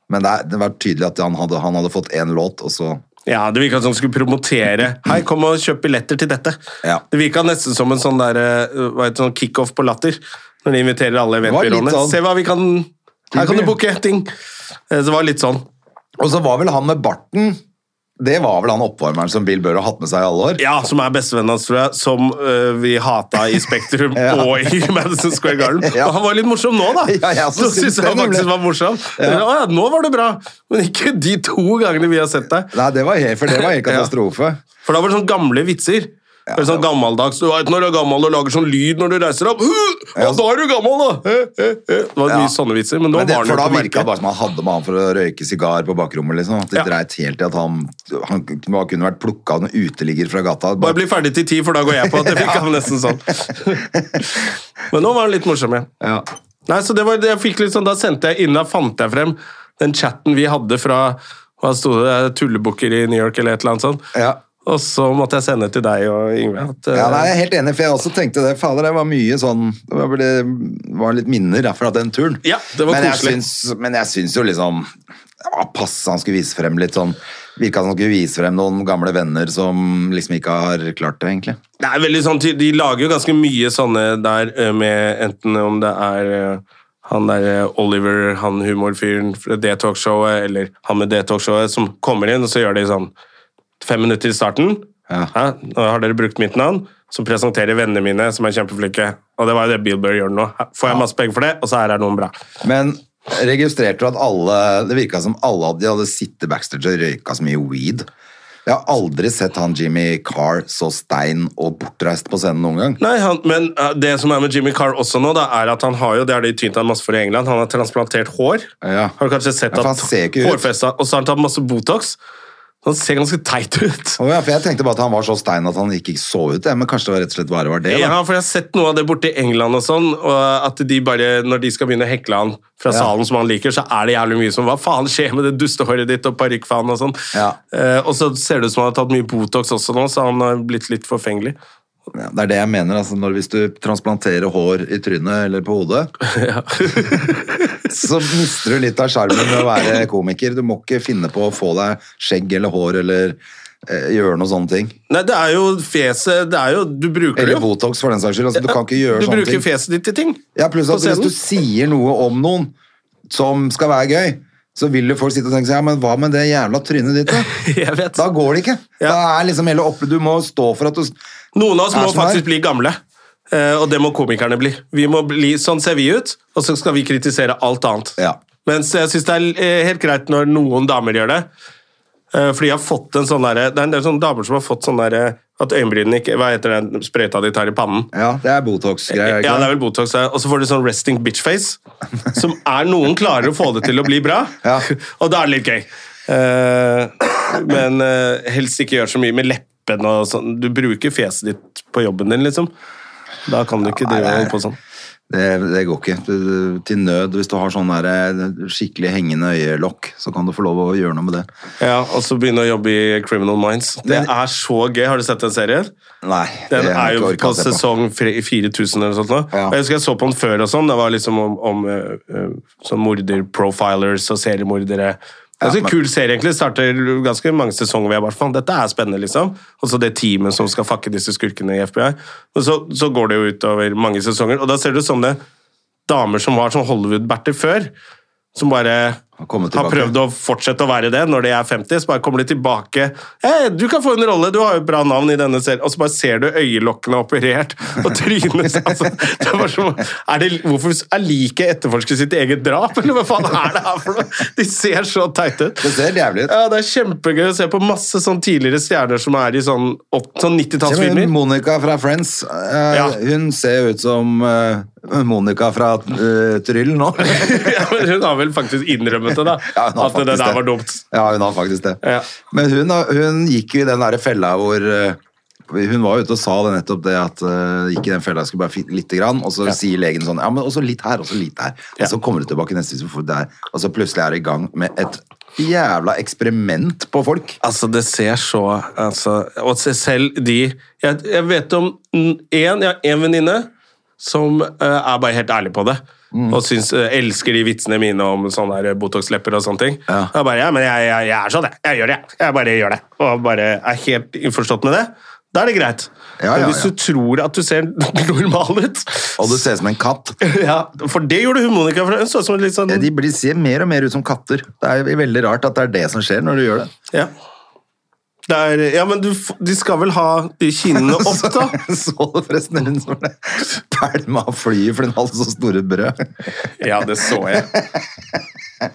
Speaker 2: Men det, er- det var tydelig at han hadde, han hadde fått én låt, og så
Speaker 1: Ja, Det virka som han skulle promotere. Hei, kom og kjøp billetter til dette.
Speaker 2: Ja.
Speaker 1: Det virka nesten som en sånn der, eh, hva heter det, sånn kickoff på latter. Når de inviterer alle
Speaker 2: var litt
Speaker 1: eventbyråene.
Speaker 2: sånn-
Speaker 1: Se hva vi kan Her kan du booke ting! Eh, Så det var litt sånn.
Speaker 2: Og så var vel han med barten Det var vel han oppvarmeren som Bill Burr har hatt med seg i alle år?
Speaker 1: Ja, som er bestevennen hans, tror jeg, som eh, vi hata i Spektrum
Speaker 2: Ja.
Speaker 1: og i Madison Square Garden.
Speaker 2: Ja.
Speaker 1: Og han var litt morsom nå, da!
Speaker 2: Ja, jeg også
Speaker 1: nå
Speaker 2: synes
Speaker 1: syns jeg
Speaker 2: det,
Speaker 1: han faktisk
Speaker 2: nemlig.
Speaker 1: var morsom. Ja. ja, nå var det bra! Men ikke de to gangene vi har sett deg.
Speaker 2: Nei, det var helt, for det var helt katastrofe.
Speaker 1: For da var det sånn gamle vitser. Det er sånn gammeldags, du vet Når du er gammel og lager sånn lyd når du reiser opp «Huh!
Speaker 2: Ja.
Speaker 1: Og da er du gammel, da! Hø, hø, hø. Det var
Speaker 2: Ja.
Speaker 1: mye sånne vitser, men nå
Speaker 2: Men det,
Speaker 1: var
Speaker 2: for da
Speaker 1: det jo
Speaker 2: virka det bare som han hadde med han for å røyke sigar på bakrommet. liksom. At de
Speaker 1: Ja.
Speaker 2: dreit helt i at han, han bare kunne vært plukka av en uteligger fra gata.
Speaker 1: Bare bli ferdig til ti, for da går jeg på. Det fikk han nesten sånn. men nå var han litt morsom, ja.
Speaker 2: Ja.
Speaker 1: Nei, så det var det jeg fikk litt sånn, Da sendte jeg inn, da fant jeg frem den chatten vi hadde fra hva sto det, tullebukker i New York eller et eller annet sånt.
Speaker 2: Ja.
Speaker 1: Og så måtte jeg sende til deg og Yngve. At,
Speaker 2: Ja, nei,
Speaker 1: eh,
Speaker 2: jeg er helt enig, for jeg også tenkte det. Fader, det var mye sånn Det var, det var litt minner da, fra den turen.
Speaker 1: Ja, det var
Speaker 2: men jeg,
Speaker 1: koselig.
Speaker 2: syns, men jeg syns jo liksom det var passe han skulle vise frem litt sånn Virka som han skulle vise frem noen gamle venner som liksom ikke har klart det, egentlig.
Speaker 1: Det er veldig sånn, ty- De lager jo ganske mye sånne der eh, med enten om det er eh, han der eh, Oliver, han humorfyren fra det talkshowet, eller han med det talkshowet, som kommer inn, og så gjør de sånn fem minutter i starten.
Speaker 2: Ja.
Speaker 1: Hæ? Nå har dere brukt mitt navn. Så presenterer vennene mine, som er kjempeflinke. Og det var jo det Bill Burr gjør nå. Her Får jeg masse penger for det, og så her er noen bra.
Speaker 2: Men registrerte du at alle Det virka som alle de hadde sittet backstage og røyka så mye weed. Jeg har aldri sett han Jimmy Carr så stein og bortreist på scenen noen gang.
Speaker 1: Nei, han, men eh, det som er med Jimmy Carr også nå, da, er at han har jo, det har de tynt han masse for i England, han har transplantert hår.
Speaker 2: Ja.
Speaker 1: Har du kanskje sett
Speaker 2: Ja, for
Speaker 1: at
Speaker 2: han ser ikke ut.
Speaker 1: hårfesta, og så har han tatt masse Botox. Så han ser ganske teit ut.
Speaker 2: Å ja, for jeg tenkte bare at han var så stein at han ikke så ut, ja, men kanskje det var rett og slett bare var det?
Speaker 1: Ja,
Speaker 2: Da.
Speaker 1: for jeg har sett noe av det borte i England og sånn, og at de bare, når de skal begynne å hekle han fra
Speaker 2: Ja.
Speaker 1: salen som han liker, så er det jævlig mye som, hva faen skjer med det dustehåret ditt og parykkfaen og sånn.
Speaker 2: Ja.
Speaker 1: Eh, og så ser det ut som han har tatt mye Botox også nå, så han har blitt litt forfengelig.
Speaker 2: Ja, Det er det jeg mener. Altså, når, hvis du transplanterer hår i trynet eller på hodet, så mister du litt av sjarmen med å være komiker. Du må ikke finne på å få deg skjegg eller hår eller eh, gjøre noen sånne ting.
Speaker 1: Nei, det er jo fjeset, det er jo, du bruker det
Speaker 2: Eller
Speaker 1: jo.
Speaker 2: Botox, for den saks skyld. Altså, du kan ikke gjøre
Speaker 1: Du
Speaker 2: sånne
Speaker 1: bruker
Speaker 2: ting.
Speaker 1: fjeset ditt til ting.
Speaker 2: Ja, pluss
Speaker 1: på
Speaker 2: at hvis
Speaker 1: scenen.
Speaker 2: du sier noe om noen som skal være gøy, så vil jo folk sitte og tenke seg, ja, men hva med det jævla trynet ditt da?
Speaker 1: Jeg vet.
Speaker 2: Da går det ikke.
Speaker 1: Ja.
Speaker 2: Da er liksom hele opp... Du må stå for at du...
Speaker 1: Noen av oss
Speaker 2: Er
Speaker 1: må
Speaker 2: som
Speaker 1: faktisk
Speaker 2: her.
Speaker 1: bli gamle, eh, og det må komikerne bli. Vi må bli. Sånn ser vi ut, og så skal vi kritisere alt annet.
Speaker 2: Ja.
Speaker 1: Mens jeg syns det er eh, helt greit når noen damer gjør det. Eh, For de har fått en sånn derre Det er en del sånne damer som har fått sånn derre At øyenbrynene ikke Hva heter den sprøyta de tar i pannen?
Speaker 2: Ja, det er Botox-greier.
Speaker 1: Ja, det er vel Botox. ja. Og så får du sånn resting bitch-face, som er noen klarer å få det til å bli bra.
Speaker 2: Ja.
Speaker 1: Og da er det litt gøy. Eh, men eh, helst ikke gjør så mye med leppene og sånn. Du bruker fjeset ditt på jobben din, liksom. Da kan du ikke
Speaker 2: nei,
Speaker 1: drive og
Speaker 2: det-
Speaker 1: holde på sånn.
Speaker 2: Det, det går ikke. Du, du- til nød, hvis du har sånn der, eh, skikkelig hengende øyelokk, så kan du få lov å gjøre noe med det.
Speaker 1: Ja, Og så begynne å jobbe i Criminal Minds. Det
Speaker 2: Men-
Speaker 1: er så gøy. Har du sett den serien?
Speaker 2: Nei, det
Speaker 1: Den
Speaker 2: har
Speaker 1: er
Speaker 2: jeg
Speaker 1: jo
Speaker 2: ikke
Speaker 1: på
Speaker 2: orka å se på.
Speaker 1: sesong fre- 4000 eller noe sånt. nå.
Speaker 2: Ja.
Speaker 1: Og Jeg husker jeg så på den før og sånn. Det var liksom om, om eh, eh, sånn morderprofilers og seriemordere. Det er
Speaker 2: Ja,
Speaker 1: en
Speaker 2: men-
Speaker 1: kul serie, egentlig. Starter ganske mange sesonger ved, i hvert fall. Dette er spennende, liksom. Og så det teamet som skal fakke disse skurkene i FBI. Og så, så går det jo utover mange sesonger. Og da ser du sånne damer som var sånn Hollywood-berter før, som bare
Speaker 2: kommet
Speaker 1: har
Speaker 2: tilbake.
Speaker 1: prøvd å fortsette å være det når de er 50, så bare kommer de tilbake. Hei, du kan få en rolle, du har jo et bra navn i denne serien. Og så bare ser du øyelokkene operert, og trynet altså, det var som, er det, Hvorfor er liket etterforsket sitt eget drap, eller hva faen er det her for noe? De ser så teite ut.
Speaker 2: Det ser jævlig ut.
Speaker 1: Ja, det er kjempegøy å se på masse sånn tidligere stjerner som er i sånn, ått-
Speaker 2: Se,
Speaker 1: sånn
Speaker 2: men
Speaker 1: 90-tallsfilmer.
Speaker 2: Monica fra Friends, eh,
Speaker 1: Ja.
Speaker 2: hun ser jo ut som eh, Monica fra eh, Tryll nå.
Speaker 1: Ja, men hun har vel faktisk innrømmet det, da.
Speaker 2: Ja, hun har
Speaker 1: at det
Speaker 2: faktisk
Speaker 1: der var dumt.
Speaker 2: Ja, hun har faktisk det.
Speaker 1: Ja.
Speaker 2: Men hun, har- hun gikk jo i den der fella hvor eh, Hun var jo ute og sa det nettopp det at eh, gikk i den fella, skulle bare fi- lite grann, og så sier legen sånn Ja, men også litt her, også litt her.
Speaker 1: Ja.
Speaker 2: Og så kommer du tilbake neste uke, så får du det her. Og så plutselig er du i gang med et jævla eksperiment på folk.
Speaker 1: Altså, det ser så altså, Og se selv de Jeg, jeg vet om én Jeg har én venninne som eh, er bare helt ærlig på det.
Speaker 2: Mm.
Speaker 1: Og syns, eh, elsker de vitsene mine om sånne der eh, Botox-lepper og sånne ting.
Speaker 2: Ja.
Speaker 1: Jeg bare, ja, men jeg, jeg, jeg er sånn, jeg. Jeg gjør det. Jeg bare gjør det. Og bare er helt innforstått med det. Da er det greit.
Speaker 2: Ja, ja,
Speaker 1: men hvis
Speaker 2: ja.
Speaker 1: du tror at du ser normal ut
Speaker 2: Og du ser ut som en katt.
Speaker 1: ja, For det gjorde hun Monica. For hun så ut som en litt sånn
Speaker 2: Ja, De blir, ser mer og mer ut som katter. Det er jo veldig rart at det er det som skjer når du gjør det.
Speaker 1: ja. Det er, ja, men du, f- de skal vel ha de kinnene opp, da?
Speaker 2: Så du forresten hun som ble pælma av flyet fordi hun hadde så store brød?
Speaker 1: Ja, det så jeg.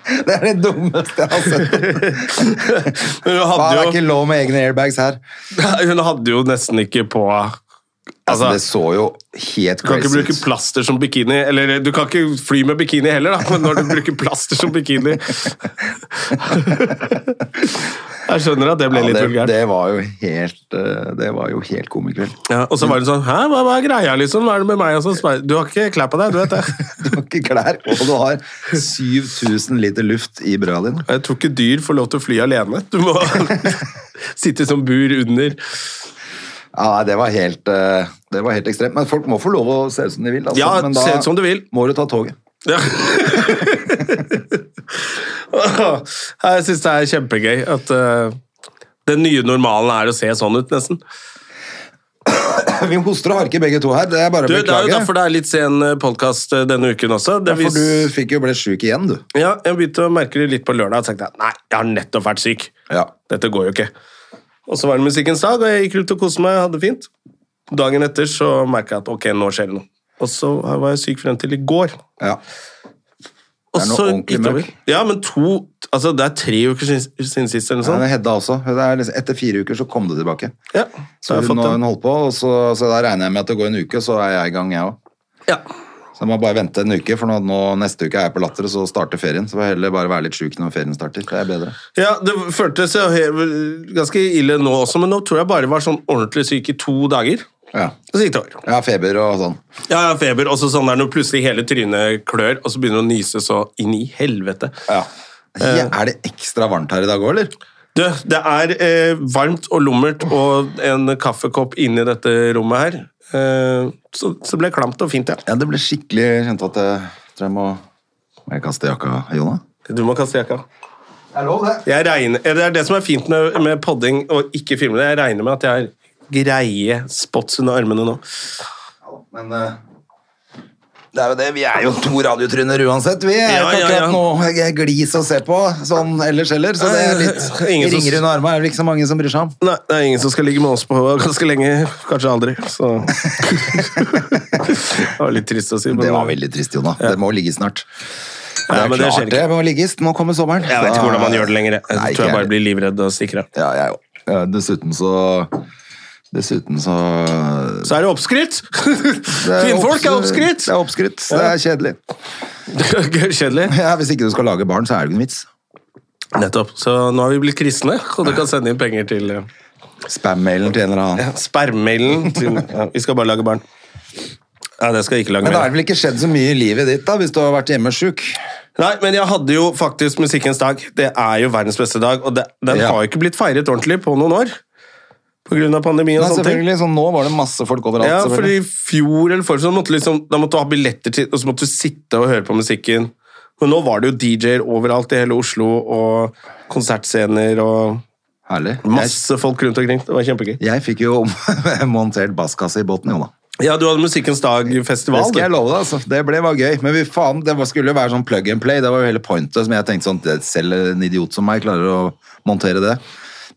Speaker 2: Det er det dummeste jeg har sett.
Speaker 1: Men
Speaker 2: Faen, det er
Speaker 1: hun hadde
Speaker 2: ikke
Speaker 1: jo,
Speaker 2: lov med egne airbags her.
Speaker 1: hun hadde jo nesten ikke på
Speaker 2: Altså, det
Speaker 1: Altså,
Speaker 2: så jo helt
Speaker 1: du kan ikke
Speaker 2: crazy
Speaker 1: bruke
Speaker 2: ut.
Speaker 1: plaster som bikini. Eller du kan ikke fly med bikini heller, da, men når du bruker plaster som bikini Jeg skjønner at det ble
Speaker 2: Ja,
Speaker 1: litt
Speaker 2: det,
Speaker 1: vulgært.
Speaker 2: det var jo helt, eh, det var jo helt komikveld.
Speaker 1: Ja, og så var hun sånn Hæ, hva, hva er greia, liksom? Hva er det med meg? Og så spør jeg, du har ikke klær på deg, du vet det.
Speaker 2: Du har ikke klær, og du har 7000 liter luft i brøda dine.
Speaker 1: Jeg tror ikke dyr får lov til å fly alene. Du må sitte som bur under.
Speaker 2: Ja, nei, det var helt, eh, det var helt ekstremt. Men folk må få lov å se ut som de vil. Altså.
Speaker 1: Ja,
Speaker 2: Men
Speaker 1: se ut som du vil.
Speaker 2: må du ta toget.
Speaker 1: Ja. jeg syns det er kjempegøy at eh, den nye normalen er å se sånn ut, nesten.
Speaker 2: Vi hoster og harker begge to her. Det er bare å
Speaker 1: Du, det er jo
Speaker 2: beklage.
Speaker 1: derfor det er litt sen podkast denne uken også. Det
Speaker 2: For
Speaker 1: vis-
Speaker 2: du fikk jo ble sjuk igjen, du.
Speaker 1: ja, jeg begynte å merke det litt på lørdag. Jeg tenkte jeg, nei, jeg har nettopp vært syk.
Speaker 2: Ja.
Speaker 1: Dette går jo ikke. Og så var det musikkens dag, og jeg gikk rundt og koste meg, hadde det fint. Dagen etter så merka jeg at ok, nå skjer det noe. Og så var jeg syk frem til i går.
Speaker 2: ja.
Speaker 1: Og
Speaker 2: Det er noe
Speaker 1: så
Speaker 2: ordentlig
Speaker 1: utover-
Speaker 2: møkk.
Speaker 1: Ja, men to Altså, det er tre uker siden, siden sist, eller noe
Speaker 2: Men
Speaker 1: sånt.
Speaker 2: Hedda også. Hun er liksom, etter fire uker så kom det tilbake.
Speaker 1: Ja, så
Speaker 2: Så
Speaker 1: har jeg
Speaker 2: hun,
Speaker 1: fått
Speaker 2: hun
Speaker 1: den.
Speaker 2: holdt på, og så, så da regner jeg med at det går en uke, så er jeg i gang, jeg òg.
Speaker 1: Ja.
Speaker 2: Så jeg må bare vente en uke, for nå, nå, neste uke er jeg på latter, og så starter ferien. Så får jeg heller bare være litt sjuk når ferien starter. Det er bedre.
Speaker 1: ja, det føltes jo he- ganske ille nå også, men nå tror jeg bare var sånn ordentlig syk i to dager.
Speaker 2: Ja.
Speaker 1: Og så gikk det over.
Speaker 2: Jeg har feber og sånn.
Speaker 1: Ja, jeg har feber, og så sånn der når plutselig hele trynet klør, og så begynner det å nyse så inn i helvete.
Speaker 2: Ja. er det ekstra varmt her i dag òg, eller?
Speaker 1: Du, det er eh, varmt og lummert og en kaffekopp inni dette rommet her. Eh, så, så ble det klamt og fint, ja.
Speaker 2: Ja, det ble skikkelig jeg kjente at jeg tror jeg må Må jeg kaste jakka, Jonna?
Speaker 1: Du må kaste jakka.
Speaker 2: Det er lov, det.
Speaker 1: Jeg regner, det er det som er fint med, med podding og ikke filme det. Jeg regner med at jeg har greie spots under armene nå.
Speaker 2: Men eh, det er jo det. Vi er jo to radiotryner uansett. Vi er
Speaker 1: Ja,
Speaker 2: jo ikke
Speaker 1: ja,
Speaker 2: akkurat
Speaker 1: ja.
Speaker 2: noe glis å se på sånn ellers heller. Så det er litt
Speaker 1: Ingen som-
Speaker 2: ringer under armene er det ikke så mange som bryr seg om.
Speaker 1: Nei, det er ingen som skal ligge med oss på ganske lenge. Kanskje aldri. Så Det var litt trist å si. men-
Speaker 2: Det var veldig trist, Jonna. Det må ligge snart. Det
Speaker 1: Ja,
Speaker 2: er
Speaker 1: men det skjer
Speaker 2: klart
Speaker 1: ikke.
Speaker 2: det må ligges. Nå kommer sommeren.
Speaker 1: Jeg vet ikke hvordan man gjør det lenger. Jeg
Speaker 2: Nei,
Speaker 1: tror jeg
Speaker 2: ikke
Speaker 1: bare blir livredd og stikker av.
Speaker 2: Ja, jeg òg. Dessuten så Dessuten så
Speaker 1: Så er det oppskrytt!
Speaker 2: Det er
Speaker 1: Kvinnfolk er
Speaker 2: obs-
Speaker 1: oppskrytt!
Speaker 2: Det er oppskrytt. Det er kjedelig.
Speaker 1: Kjedelig.
Speaker 2: Ja, hvis ikke du skal lage barn, så er det ikke noen vits.
Speaker 1: Nettopp. Så nå har vi blitt kristne, og du kan sende inn penger til eh,
Speaker 2: Spam-mailen til en eller annen.
Speaker 1: spermmailen. Til, ja, vi skal bare lage barn. Ja, det skal jeg ikke lage
Speaker 2: Men
Speaker 1: mer.
Speaker 2: da har det vel ikke skjedd så mye i livet ditt da, hvis du har vært hjemmesjuk?
Speaker 1: Nei, men jeg hadde jo faktisk Musikkens dag. Det er jo verdens beste dag, og det, den
Speaker 2: Ja.
Speaker 1: har jo ikke blitt feiret ordentlig på noen år. På grunn av pandemi og
Speaker 2: Nei,
Speaker 1: sånne ting.
Speaker 2: selvfølgelig. Så nå var det masse folk overalt.
Speaker 1: Ja, for i
Speaker 2: selvfølgelig.
Speaker 1: fjor eller forrige så måtte du liksom, da måtte du ha billetter til, og så måtte du sitte og høre på musikken. Men nå var det jo DJ-er overalt i hele Oslo, og konsertscener og
Speaker 2: Herlig. Jeg,
Speaker 1: masse folk rundt omkring. Det var kjempegøy.
Speaker 2: jeg fikk jo montert basskasse i båten, jo da.
Speaker 1: Ja, du hadde Musikkens
Speaker 2: Det
Speaker 1: dag-festival.
Speaker 2: skal jeg
Speaker 1: du.
Speaker 2: love deg, altså. Det ble var gøy. Men vi, faen, det var, skulle jo være sånn plug and play. Det var jo hele pointet. Som jeg tenkte sånn, det- selv en idiot som meg klarer å montere det.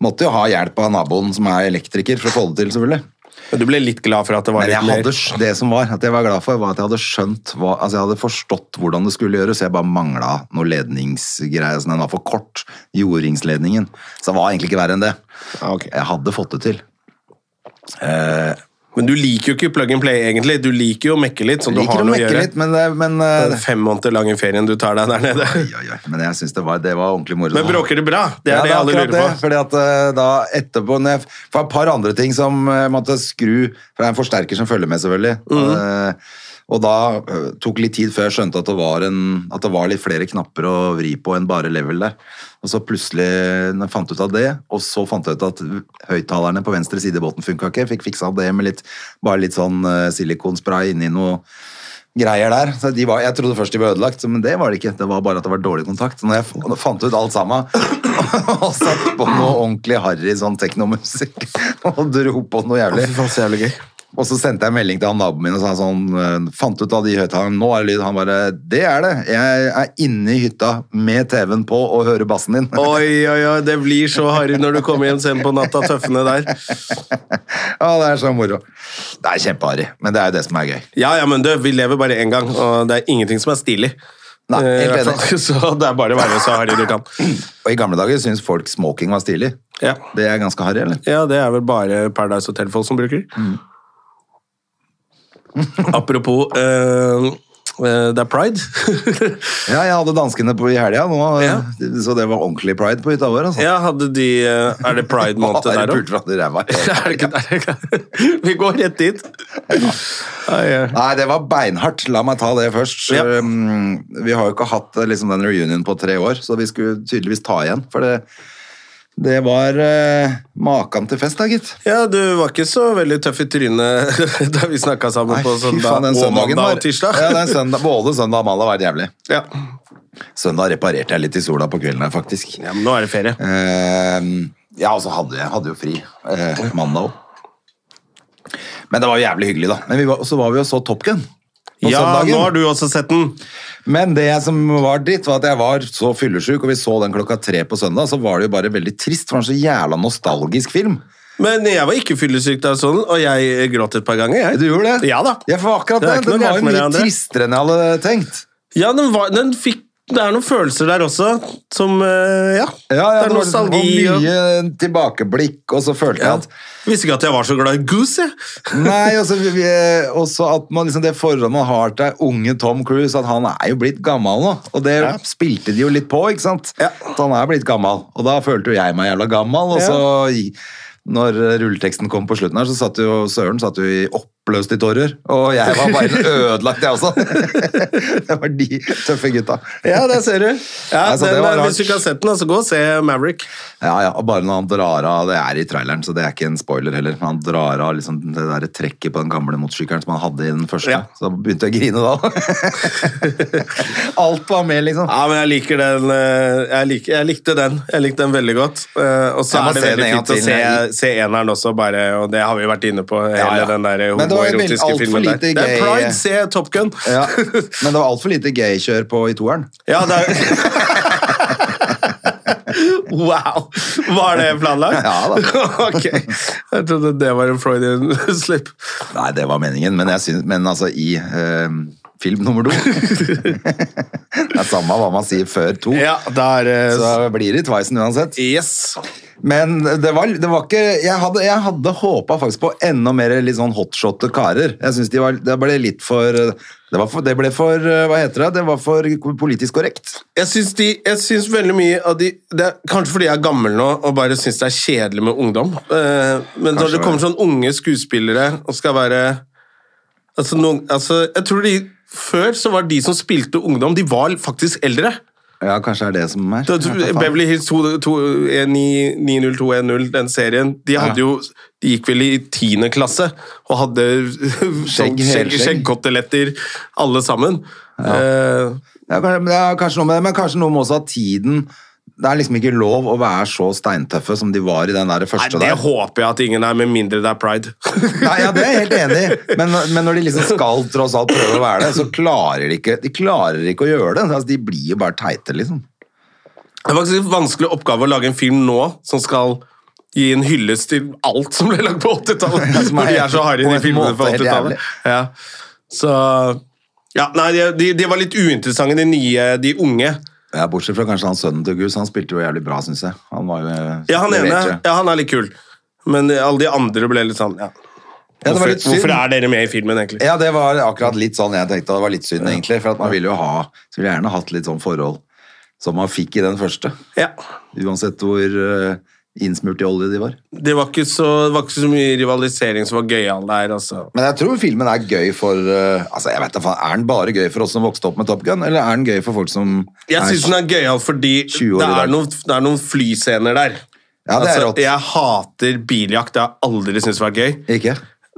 Speaker 2: Måtte jo ha hjelp av naboen som er elektriker for å få det til, selvfølgelig.
Speaker 1: Men du ble litt glad for at det var
Speaker 2: Men jeg
Speaker 1: litt mer
Speaker 2: hadde, sk- det som var, at jeg var glad for, var at jeg hadde skjønt hva, altså jeg hadde forstått hvordan det skulle gjøres. Jeg bare mangla noe ledningsgreier. Sånn, den var for kort, jordingsledningen. Så det var egentlig ikke verre enn det.
Speaker 1: Ja, Ah, ok.
Speaker 2: Jeg hadde fått det til.
Speaker 1: Men du liker jo ikke plug and play, egentlig. Du liker jo å mekke litt, sånn du
Speaker 2: Liker
Speaker 1: har
Speaker 2: å
Speaker 1: noe å
Speaker 2: mekke
Speaker 1: gjøre.
Speaker 2: litt, men, det- men eh,
Speaker 1: Den fem måneder lange ferien du tar deg der nede.
Speaker 2: Oi, oi, oi. Men jeg syns det var, det var ordentlig moro.
Speaker 1: Men bråker det bra? Det er
Speaker 2: Ja,
Speaker 1: det alle
Speaker 2: akkurat
Speaker 1: lurer
Speaker 2: det,
Speaker 1: på.
Speaker 2: Fordi at eh, da etterpå når jeg, For et par andre ting som eh, måtte skru For det er en forsterker som følger med, selvfølgelig.
Speaker 1: Mhm.
Speaker 2: Eh, og da eh, tok litt tid før jeg skjønte at det, var en, at det var litt flere knapper å vri på enn bare level der. Og så plutselig når jeg fant ut av det, og så fant jeg ut at høyttalerne på venstre side i båten funka ikke. Fikk fiksa det med litt, bare litt sånn eh, silikonspray inni noe greier der. Så de var, jeg trodde først de var ødelagt, så- men det var det ikke. Det var bare at det var dårlig kontakt. Så Når jeg f- fant ut alt sammen og satt på noe ordentlig harry sånn teknomusikk og dro på noe jævlig Og så sendte jeg en melding til han naboen min og sa sånn eh, Fant ut av de høyttalerne, nå er det lyd. Han bare Det er det. Jeg er inne i hytta med TV-en på og hører bassen din.
Speaker 1: Oi, oi, oi, det blir så harry når du kommer hjem sent på natta, tøffene der.
Speaker 2: Ja, det er så moro. Det er kjempeharry, men det er jo det som er gøy.
Speaker 1: Ja, ja, men du, vi lever bare én gang, og det er ingenting som er stilig.
Speaker 2: Nei,
Speaker 1: Eh, i
Speaker 2: helt
Speaker 1: hvert fall. Så det er bare å være så harry du kan.
Speaker 2: Og i gamle dager syns folk smoking var stilig.
Speaker 1: Ja.
Speaker 2: Det er ganske harry, eller?
Speaker 1: ja, det er vel bare Paradise Hotel-folk som bruker.
Speaker 2: Mm.
Speaker 1: Apropos eh, eh, Det er pride.
Speaker 2: Ja, jeg hadde danskene på i helga, nå,
Speaker 1: Ja.
Speaker 2: så det var ordentlig pride på hytta vår. Altså.
Speaker 1: ja, hadde de eh, Er det pride-måned
Speaker 2: Bare
Speaker 1: der òg?
Speaker 2: pult fra de ræva.
Speaker 1: Er det ikke der? Vi går rett dit. Ai, ai.
Speaker 2: Nei, det var beinhardt. La meg ta det først.
Speaker 1: Ja.
Speaker 2: Um, Vi har jo ikke hatt eh, liksom, den reunionen på tre år, så vi skulle tydeligvis ta igjen. For det, det var eh, maken til fest, da, gitt.
Speaker 1: Ja, du var ikke så veldig tøff i trynet da vi snakka sammen
Speaker 2: Nei,
Speaker 1: på
Speaker 2: fy
Speaker 1: søndag,
Speaker 2: faen, den
Speaker 1: og
Speaker 2: søndagen
Speaker 1: mandag
Speaker 2: var-
Speaker 1: og tirsdag.
Speaker 2: Ja, den søndag, både søndag og mandag var det jævlig.
Speaker 1: Ja.
Speaker 2: Søndag reparerte jeg litt i sola på kvelden her, faktisk.
Speaker 1: Ja, men nå er det ferie.
Speaker 2: Eh, ja, og så hadde jeg hadde jo fri eh, mandag òg. Men det var jo jævlig hyggelig, da. Men vi var, så var vi jo så Top Gun på
Speaker 1: Ja, nå har
Speaker 2: søndagen.
Speaker 1: du også sett den.
Speaker 2: Men det som var dritt, var at jeg var så fyllesyk, og vi så den klokka tre på søndag, så var det jo bare veldig trist, for det var en så jævla nostalgisk film.
Speaker 1: Men jeg var ikke fyllesyk da, sånn, og jeg gråt et par ganger. Jeg.
Speaker 2: Du gjorde det?
Speaker 1: Ja da.
Speaker 2: Ja, for akkurat det.
Speaker 1: Det er ikke noe
Speaker 2: Den var
Speaker 1: galt
Speaker 2: jo
Speaker 1: med det,
Speaker 2: mye
Speaker 1: André.
Speaker 2: tristere enn jeg hadde tenkt.
Speaker 1: Ja, den var, den fikk, det er noen følelser der også, som eh, Ja,
Speaker 2: Ja, ja,
Speaker 1: det er nostalgi.
Speaker 2: var liksom-
Speaker 1: og-
Speaker 2: mye tilbakeblikk, og så følte
Speaker 1: Ja.
Speaker 2: jeg at
Speaker 1: Visste ikke at jeg var så glad i Goose, jeg.
Speaker 2: Nei, også, vi, vi- også at man liksom det forholdet man har til unge Tom Cruise, at han er jo blitt gammel nå. Og det spilte de jo litt på, ikke sant?
Speaker 1: Ja.
Speaker 2: At han er blitt gammel. Og da følte jo jeg meg jævla gammel, og så i- når eh, rulleteksten kom på slutten her, så satt jo Søren satt jo i oppløst i tårer. Og jeg var bare ødelagt, jeg også. det var de tøffe gutta.
Speaker 1: Ja, det ser du. Ja,
Speaker 2: Nei, så altså, det
Speaker 1: den,
Speaker 2: var
Speaker 1: eh,
Speaker 2: rart.
Speaker 1: hvis du ikke har sett den, så gå og se Maverick.
Speaker 2: Ja, ja, og bare når han drar av, det er i traileren, så det er ikke en spoiler heller, men han drar av liksom det der trekket på den gamle motorsykkelen som han hadde i den første,
Speaker 1: Ja.
Speaker 2: så begynte jeg å grine da. Alt var med, liksom.
Speaker 1: Ja, men jeg liker den. eh, Jeg, liker, jeg likte den. Jeg likte den veldig godt. Eh, Og så
Speaker 2: Jeg må
Speaker 1: er det
Speaker 2: se den
Speaker 1: veldig
Speaker 2: en gang
Speaker 1: fint å
Speaker 2: til.
Speaker 1: se, se eneren også, bare, og det har vi jo vært inne på. Hele
Speaker 2: Ja, ja.
Speaker 1: den der
Speaker 2: Men det var jo
Speaker 1: homoerotiske
Speaker 2: veldig-
Speaker 1: filmen
Speaker 2: altfor
Speaker 1: der.
Speaker 2: lite
Speaker 1: Det er
Speaker 2: gay-
Speaker 1: pride, se Top Gun!
Speaker 2: Ja, men det var altfor lite gay-kjør på i toeren.
Speaker 1: Ja, det er... Wow! Var det planlagt?
Speaker 2: Ja da.
Speaker 1: ok. Jeg trodde det var en Freudian slip.
Speaker 2: Nei, det var meningen, men, jeg synes, men altså i eh, film nummer to. det er samme hva man sier før to,
Speaker 1: Ja, da er det
Speaker 2: så blir det Twicen uansett.
Speaker 1: eh, Yes.
Speaker 2: Men det var, det var ikke Jeg hadde, jeg hadde håpa faktisk på enda mer litt sånn hotshotte karer. Jeg synes de var, Det ble litt for det, var for det ble for eh, Hva heter det? Det var for politisk korrekt.
Speaker 1: Jeg syns, de, jeg syns veldig mye av de det er, Kanskje fordi jeg er gammel nå og bare syns det er kjedelig med ungdom. Eh, men
Speaker 2: Kanskje
Speaker 1: når det kommer sånn unge skuespillere og skal være altså, noen, altså, Jeg tror de Før så var de som spilte ungdom, de var faktisk eldre.
Speaker 2: Ja, kanskje det er det som er.
Speaker 1: Da- Beverly Hills 2- 2- 9- 90210, den serien, de hadde jo de gikk vel i tiende klasse og hadde sånn
Speaker 2: Skjegg,
Speaker 1: skjegg,
Speaker 2: helskjegg.
Speaker 1: skjeggkoteletter, alle sammen. Eh,
Speaker 2: Ja, kanskje, men det er kanskje noe med det, men kanskje noe med også at tiden Det er liksom ikke lov å være så steintøffe som de var i den der
Speaker 1: Nei,
Speaker 2: første
Speaker 1: det
Speaker 2: der.
Speaker 1: håper jeg at ingen er, med mindre det er pride.
Speaker 2: Nei, ja, det er jeg helt enig i, men, men når de liksom skal tross alt prøve å være det, så klarer de ikke, de klarer ikke å gjøre det. Altså, de blir jo bare teite, liksom.
Speaker 1: Det er faktisk en vanskelig oppgave å lage en film nå som skal gi en hyllest til alt som ble lagd på 80-tallet.
Speaker 2: Ja, som er
Speaker 1: Når de er så
Speaker 2: helt-
Speaker 1: harry,
Speaker 2: på
Speaker 1: de
Speaker 2: en
Speaker 1: filmene
Speaker 2: måte
Speaker 1: fra
Speaker 2: helt
Speaker 1: 80-tallet. Ja. Så Ja, nei, de, de, de var litt uinteressante, de nye, de unge.
Speaker 2: Ja, bortsett fra kanskje han sønnen til Gus, han spilte jo jævlig bra, syns jeg. Han var jo
Speaker 1: Ja, han ene
Speaker 2: leverte.
Speaker 1: ja, han er litt kul, men alle de andre ble litt sånn ja.
Speaker 2: Ja, det var
Speaker 1: Hvorfor,
Speaker 2: litt synd.
Speaker 1: hvorfor er dere med i filmen, egentlig?
Speaker 2: Ja, det var akkurat litt sånn jeg tenkte, og det var litt synd egentlig, for at man ville jo ha, så ville jeg gjerne hatt litt sånn forhold som man fikk i den første,
Speaker 1: Ja.
Speaker 2: uansett hvor eh, innsmurt i olje de var.
Speaker 1: Det var ikke så, det var ikke så mye rivalisering som var gøyal der, altså.
Speaker 2: Men jeg tror filmen er gøy for, eh, altså jeg vet da faen, er den bare gøy for oss som vokste opp med Top Gun, eller er den gøy for folk som...
Speaker 1: Jeg
Speaker 2: er-
Speaker 1: syns den er gøyal fordi
Speaker 2: 20 år
Speaker 1: det
Speaker 2: i dag.
Speaker 1: er, noen, det er noen flyscener der. Altså,
Speaker 2: Ja, det er rått.
Speaker 1: Jeg hater biljakt. Det har jeg aldri syntes vært gøy.
Speaker 2: Ikke?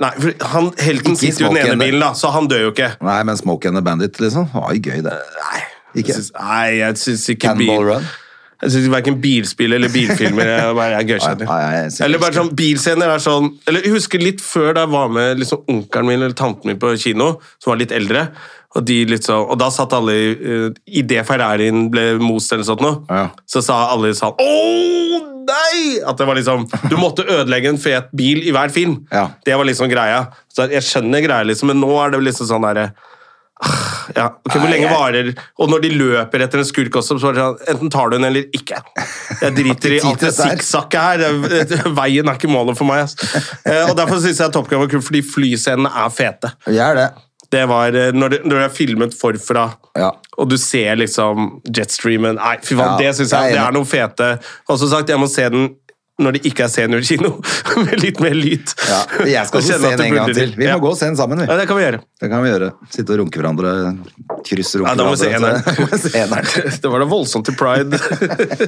Speaker 1: Nei, for han, Helten
Speaker 2: Ikke i
Speaker 1: sitter jo i den ene
Speaker 2: smoking, det.
Speaker 1: bilen, da, så han dør jo ikke.
Speaker 2: Nei, men Smoke and the Bandit, liksom, var gøy det. Nei,
Speaker 1: Jeg
Speaker 2: ikke.
Speaker 1: syns- Nei, jeg syns ikke
Speaker 2: Cannonball
Speaker 1: bil,
Speaker 2: Run?
Speaker 1: Jeg syns verken bilspill eller bilfilmer er, er gøykjedelig.
Speaker 2: Nei, nei, jeg syns
Speaker 1: Eller bare
Speaker 2: ikke.
Speaker 1: sånn bilscener er sånn Eller Jeg husker litt før da jeg var med liksom onkelen min eller tanten min på kino, som var litt eldre, og, de litt sånn- og da satt alle i eh, i det Ferrarien ble most eller sånt noe,
Speaker 2: Ja.
Speaker 1: så sa alle i salen Å, nei! At det var liksom Du måtte ødelegge en fet bil i hver film.
Speaker 2: Ja.
Speaker 1: Det var liksom greia. Så jeg skjønner greia, liksom, men nå er det liksom sånn derre ah, ja, ok, Hvor lenge varer Og når de løper etter en skurk også, så er det sånn Enten tar du den eller ikke. Jeg driter i alt det
Speaker 2: Titt, titt, der.
Speaker 1: sikksakket her. Det- det- Veien er ikke målet for meg. ass. Eh, Og Derfor syns jeg Top Gun var kult, fordi flyscenene er fete.
Speaker 2: Jeg er det.
Speaker 1: Det var eh, Når det, når det er filmet forfra,
Speaker 2: Ja.
Speaker 1: og du ser liksom jetstreamen Nei, fy faen,
Speaker 2: Ja,
Speaker 1: det syns
Speaker 2: jeg er
Speaker 1: jeg det
Speaker 2: enig.
Speaker 1: er noe fete. Og som sagt, jeg må se den når det ikke er seniorkino, med litt mer lyd.
Speaker 2: Ja, jeg skal
Speaker 1: Og
Speaker 2: også
Speaker 1: kjenne
Speaker 2: se den
Speaker 1: at det
Speaker 2: en gang
Speaker 1: buldrer
Speaker 2: til.
Speaker 1: litt.
Speaker 2: Vi må
Speaker 1: ja.
Speaker 2: gå og se den sammen, vi.
Speaker 1: Ja, det kan vi gjøre.
Speaker 2: Det kan vi gjøre. Sitte og runke hverandre. Krysse runke
Speaker 1: Ja, da må vi se
Speaker 2: hverandre. altså. Da må vi se eneren.
Speaker 1: Det var da voldsomt til pride.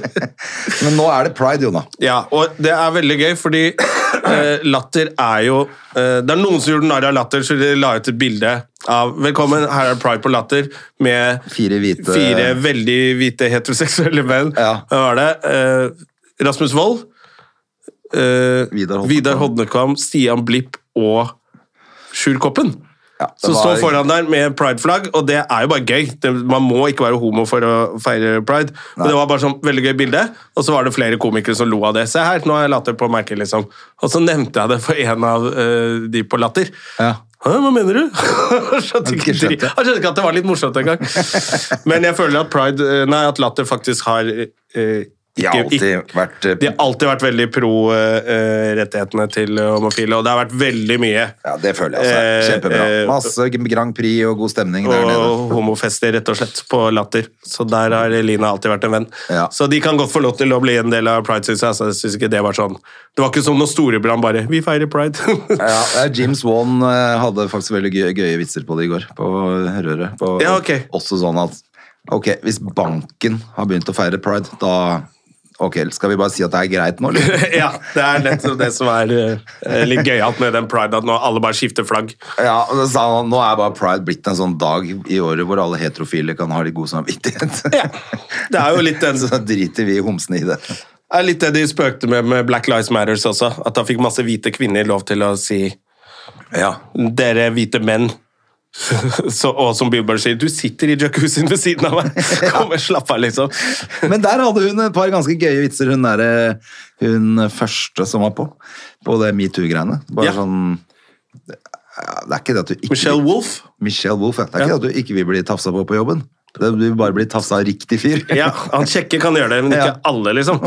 Speaker 2: Men nå er det pride, Jona.
Speaker 1: ja, og det er veldig gøy, fordi eh, latter er jo eh, Det er noen som gjorde narr av latter, så de la ut et bilde av 'Velkommen, her er pride på latter' med
Speaker 2: Fire hvite-
Speaker 1: fire veldig hvite heteroseksuelle menn.
Speaker 2: Ja.
Speaker 1: Hva var det? Eh, Rasmus Wold, eh,
Speaker 2: Vidar Hodnekvam.
Speaker 1: Vidar Hodnekvam, Stian Blipp og Sjur Koppen.
Speaker 2: Ja, det
Speaker 1: Som
Speaker 2: var-
Speaker 1: står foran der med prideflagg, og det er jo bare gøy. Det, man må ikke være homo for å feire pride. Og det var bare sånn veldig gøy bilde, og så var det flere komikere som lo av det. Se her, nå har jeg latter på merket, liksom. Og så nevnte jeg det for en av eh, de på latter.
Speaker 2: Ja.
Speaker 1: Hæ, hva mener du? Han skjønte ikke,
Speaker 2: Ikke skjønte.
Speaker 1: dri- han skjønte ikke at det var litt morsomt engang. Men jeg føler at pride, eh, nei, at latter faktisk har eh,
Speaker 2: De
Speaker 1: ikke,
Speaker 2: har alltid vært eh,
Speaker 1: de har alltid vært veldig pro eh, rettighetene til homofile, og det har vært veldig mye
Speaker 2: Ja, det føler jeg også. er Kjempebra.
Speaker 1: Eh, eh,
Speaker 2: Masse Grand Prix og god stemning der nede.
Speaker 1: og homofester, rett og slett, på Latter. Så der har Eline alltid vært en venn.
Speaker 2: Ja.
Speaker 1: Så de kan godt få lov til å bli en del av pride, syns jeg. Så jeg synes ikke det var sånn Det var ikke som når Storebrand bare Vi feirer pride.
Speaker 2: Ja, eh, James Wan eh, hadde faktisk veldig gøy, gøye vitser på det i går, på Røret. På,
Speaker 1: Ja, ok.
Speaker 2: Også sånn at Ok, hvis banken har begynt å feire pride, da Ok, skal vi bare si at det er greit nå, eller?
Speaker 1: ja, det er nettopp det som er eh, litt gøyalt med den pride, at nå alle bare skifter flagg.
Speaker 2: Ja, og da sa han, Nå er bare pride blitt en sånn dag i året hvor alle heterofile kan ha litt god samvittighet.
Speaker 1: Ja, det er jo litt den-
Speaker 2: Så da driter vi homsene i det.
Speaker 1: Det er litt det de spøkte med med Black Lives Matters også, at da fikk masse hvite kvinner lov til å si
Speaker 2: Ja.
Speaker 1: dere hvite menn. Så, og som Billboard sier, du sitter i jacuzzien ved siden av meg! Kom og slapp av, liksom.
Speaker 2: Men der hadde hun et par ganske gøye vitser, hun, der, hun første som var på. På det metoo-greiene. Bare
Speaker 1: Ja.
Speaker 2: sånn ja, Det er ikke det at du ikke
Speaker 1: Michelle Wolff.
Speaker 2: Michelle Wolf, ja. Det er ikke
Speaker 1: Ja.
Speaker 2: det at du ikke vil bli tafsa på på jobben. Det er at Du vil bare bli tafsa av riktig fyr.
Speaker 1: Ja, han kjekke kan gjøre det, men ikke
Speaker 2: Ja.
Speaker 1: alle, liksom.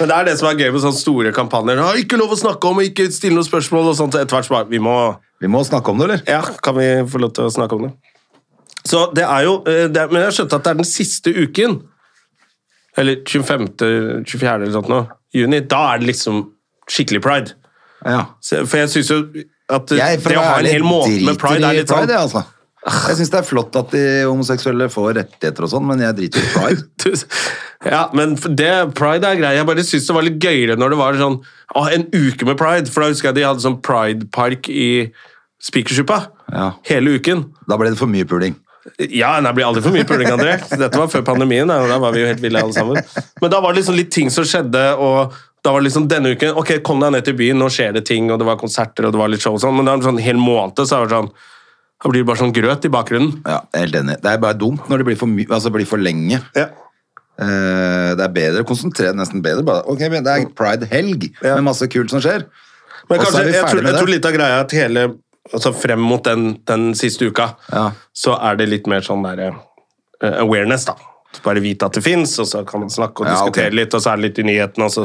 Speaker 1: Men det er det som er gøy med sånne store kampanjer. Ah, ikke lov å snakke om, ikke stille noen spørsmål og sånt. Etter hvert så bare Vi må
Speaker 2: Vi må snakke om det, eller?
Speaker 1: Ja, kan vi få lov til å snakke om det? Så det er jo eh, det er, Men jeg skjønte at det er den siste uken. Eller 25., 24. eller sånt nå. Juni. Da er det liksom skikkelig pride.
Speaker 2: Ja.
Speaker 1: Så- For jeg syns jo at eh,
Speaker 2: Jeg, for
Speaker 1: det å ha en
Speaker 2: være
Speaker 1: hel
Speaker 2: ærlig,
Speaker 1: måned
Speaker 2: driter
Speaker 1: med pride
Speaker 2: i
Speaker 1: er litt sånn
Speaker 2: pride, jeg, altså. Jeg syns det er flott at de homoseksuelle får rettigheter og sånn, men jeg driter i pride.
Speaker 1: Tusen- Ja, men det, pride er grei. Jeg bare syns det var litt gøyere når det var sånn å, en uke med pride. For da husker jeg de hadde sånn pridepark i Spikersuppa
Speaker 2: Ja.
Speaker 1: hele uken.
Speaker 2: Da ble det for mye puling.
Speaker 1: Ja, nei, det blir aldri for mye puling, André. Dette var før pandemien, da, og da var vi jo helt ville alle sammen. Men da var det liksom litt ting som skjedde, og da var det liksom denne uken Ok, kom deg ned til byen, nå skjer det ting, og det var konserter, og det var litt show og sånn, men det er en sånn hel måned, så er det sånn Da blir det bare sånn grøt i bakgrunnen.
Speaker 2: Ja, jeg er helt enig. Det er bare dumt når det blir for, my altså, det blir for lenge. Eh, det er bedre å konsentrere nesten bedre. Bare, ok, men Det er pride-helg
Speaker 1: Ja.
Speaker 2: med masse kult som skjer.
Speaker 1: Men
Speaker 2: Og så
Speaker 1: kanskje,
Speaker 2: er vi
Speaker 1: jeg
Speaker 2: ferdig
Speaker 1: tror,
Speaker 2: med
Speaker 1: jeg
Speaker 2: det.
Speaker 1: tror litt av greia er at hele altså Frem mot den, den siste uka,
Speaker 2: Ja.
Speaker 1: så er det litt mer sånn der eh, awareness, da. Bare vite at det fins, og så kan man snakke og
Speaker 2: Ja, ok.
Speaker 1: diskutere litt, og så er det litt i nyhetene, og så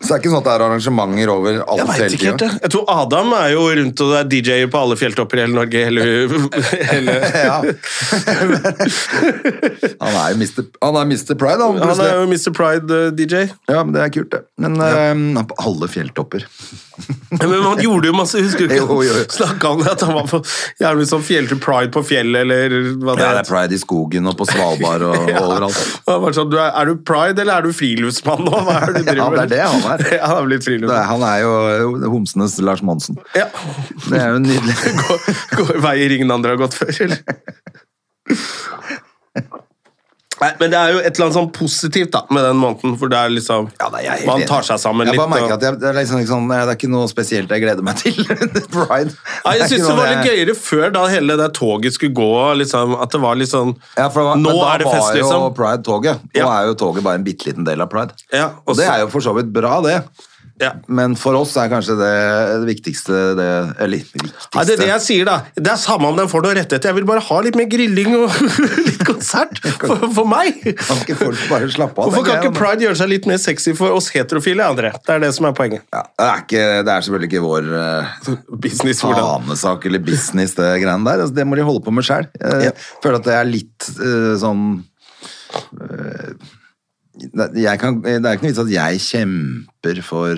Speaker 2: Så det er ikke sånn at det er arrangementer over alt
Speaker 1: Jeg vet
Speaker 2: hele
Speaker 1: ikke helt det.
Speaker 2: tiden.
Speaker 1: Jeg tror Adam er jo rundt og det er DJ-er på alle fjelltopper i hele Norge. Hele, hele.
Speaker 2: Ja. Han er jo Mr. Han er Mr. Pride, han.
Speaker 1: Han er
Speaker 2: plutselig.
Speaker 1: jo eh, Mr. Pride-DJ.
Speaker 2: Ja, men det er kult, det. Men eh, på alle fjelltopper.
Speaker 1: Men han gjorde jo masse, husker du
Speaker 2: Jo, jo, jo.
Speaker 1: ikke? Snakka om det, at han var på jævlig sånn fjelltur Pride på fjellet, eller
Speaker 2: Ja,
Speaker 1: hva det
Speaker 2: det er
Speaker 1: heter.
Speaker 2: pride i skogen og på Svalbard og, og overalt.
Speaker 1: Han var sånn, du er, er du pride, eller er du friluftsmann nå? Hva er det
Speaker 2: Ja,
Speaker 1: du driver
Speaker 2: det er
Speaker 1: med?
Speaker 2: det han er.
Speaker 1: Ja, han er blitt
Speaker 2: Det er,
Speaker 1: friluftsmann.
Speaker 2: han er jo homsenes Lars Monsen.
Speaker 1: Ja.
Speaker 2: Det er jo nydelig.
Speaker 1: Går, går vei ingen andre har gått før, eller? Nei, men det er jo et eller annet sånn positivt da, med den måneden, for det er liksom
Speaker 2: Ja, nei, jeg er helt
Speaker 1: Man
Speaker 2: enig.
Speaker 1: tar seg sammen
Speaker 2: jeg
Speaker 1: litt.
Speaker 2: Bare merker
Speaker 1: og-
Speaker 2: at jeg, det, er liksom, ikke sånn, det er ikke noe spesielt jeg gleder meg til. Pride.
Speaker 1: Ja, jeg
Speaker 2: ikke
Speaker 1: syns det
Speaker 2: noe
Speaker 1: var litt
Speaker 2: jeg-
Speaker 1: gøyere før, da hele det toget skulle gå. Liksom, at det var litt sånn
Speaker 2: Ja, for det var,
Speaker 1: Nå
Speaker 2: men da
Speaker 1: er det fest,
Speaker 2: var jo
Speaker 1: liksom.
Speaker 2: pride toget. Nå
Speaker 1: Ja.
Speaker 2: er jo toget bare en bitte liten del av pride.
Speaker 1: Ja,
Speaker 2: Og det er jo for så vidt bra, det.
Speaker 1: ja.
Speaker 2: Men for oss er kanskje det, det viktigste det, Eller viktigste
Speaker 1: Nei, det er det jeg sier, da. Det er samme om den får noe rettigheter. Jeg vil bare ha litt mer grilling og litt konsert for, for meg.
Speaker 2: Kan ikke folk bare slappe av? tenker
Speaker 1: Hvorfor
Speaker 2: jeg,
Speaker 1: kan
Speaker 2: da?
Speaker 1: ikke pride gjøre seg litt mer sexy for oss heterofile, André? Det er det som er poenget.
Speaker 2: Ja, det, er ikke, det er selvfølgelig ikke vår eh,
Speaker 1: Business, hvordan?
Speaker 2: fanesak eller business, det greiene der. Altså, det må de holde på med sjøl. Jeg føler at det er litt eh, sånn eh, det- jeg kan, Det er ikke noe vits at jeg kjemper for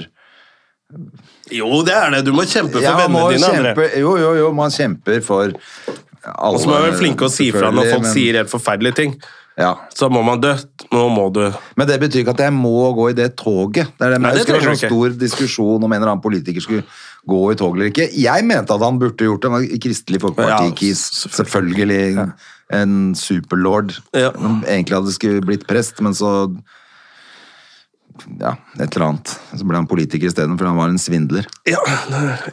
Speaker 1: Jo, det er det. Du må kjempe for
Speaker 2: Ja, man
Speaker 1: vennene
Speaker 2: må
Speaker 1: dine, André.
Speaker 2: kjempe- Jo, jo, jo, man kjemper for alle.
Speaker 1: Og så må man være flinke å si fra når
Speaker 2: selvfølgelig,
Speaker 1: folk
Speaker 2: men-
Speaker 1: sier helt forferdelige ting.
Speaker 2: ja.
Speaker 1: Så må man dø. Nå må du
Speaker 2: Men det betyr ikke at jeg må gå i det toget. Det er det,
Speaker 1: Nei,
Speaker 2: jeg
Speaker 1: det
Speaker 2: husker det var
Speaker 1: trenger
Speaker 2: en
Speaker 1: du ikke.
Speaker 2: stor diskusjon om en eller annen politiker skulle gå i tog eller ikke. Jeg mente at han burde gjort det. Han var Kristelig
Speaker 1: Ja,
Speaker 2: Folkeparti-kis, selvfølgelig. En superlord.
Speaker 1: Ja.
Speaker 2: Som Egentlig hadde skulle blitt prest, men så Ja, et eller annet. Så ble han politiker isteden, for han var en svindler.
Speaker 1: Ja,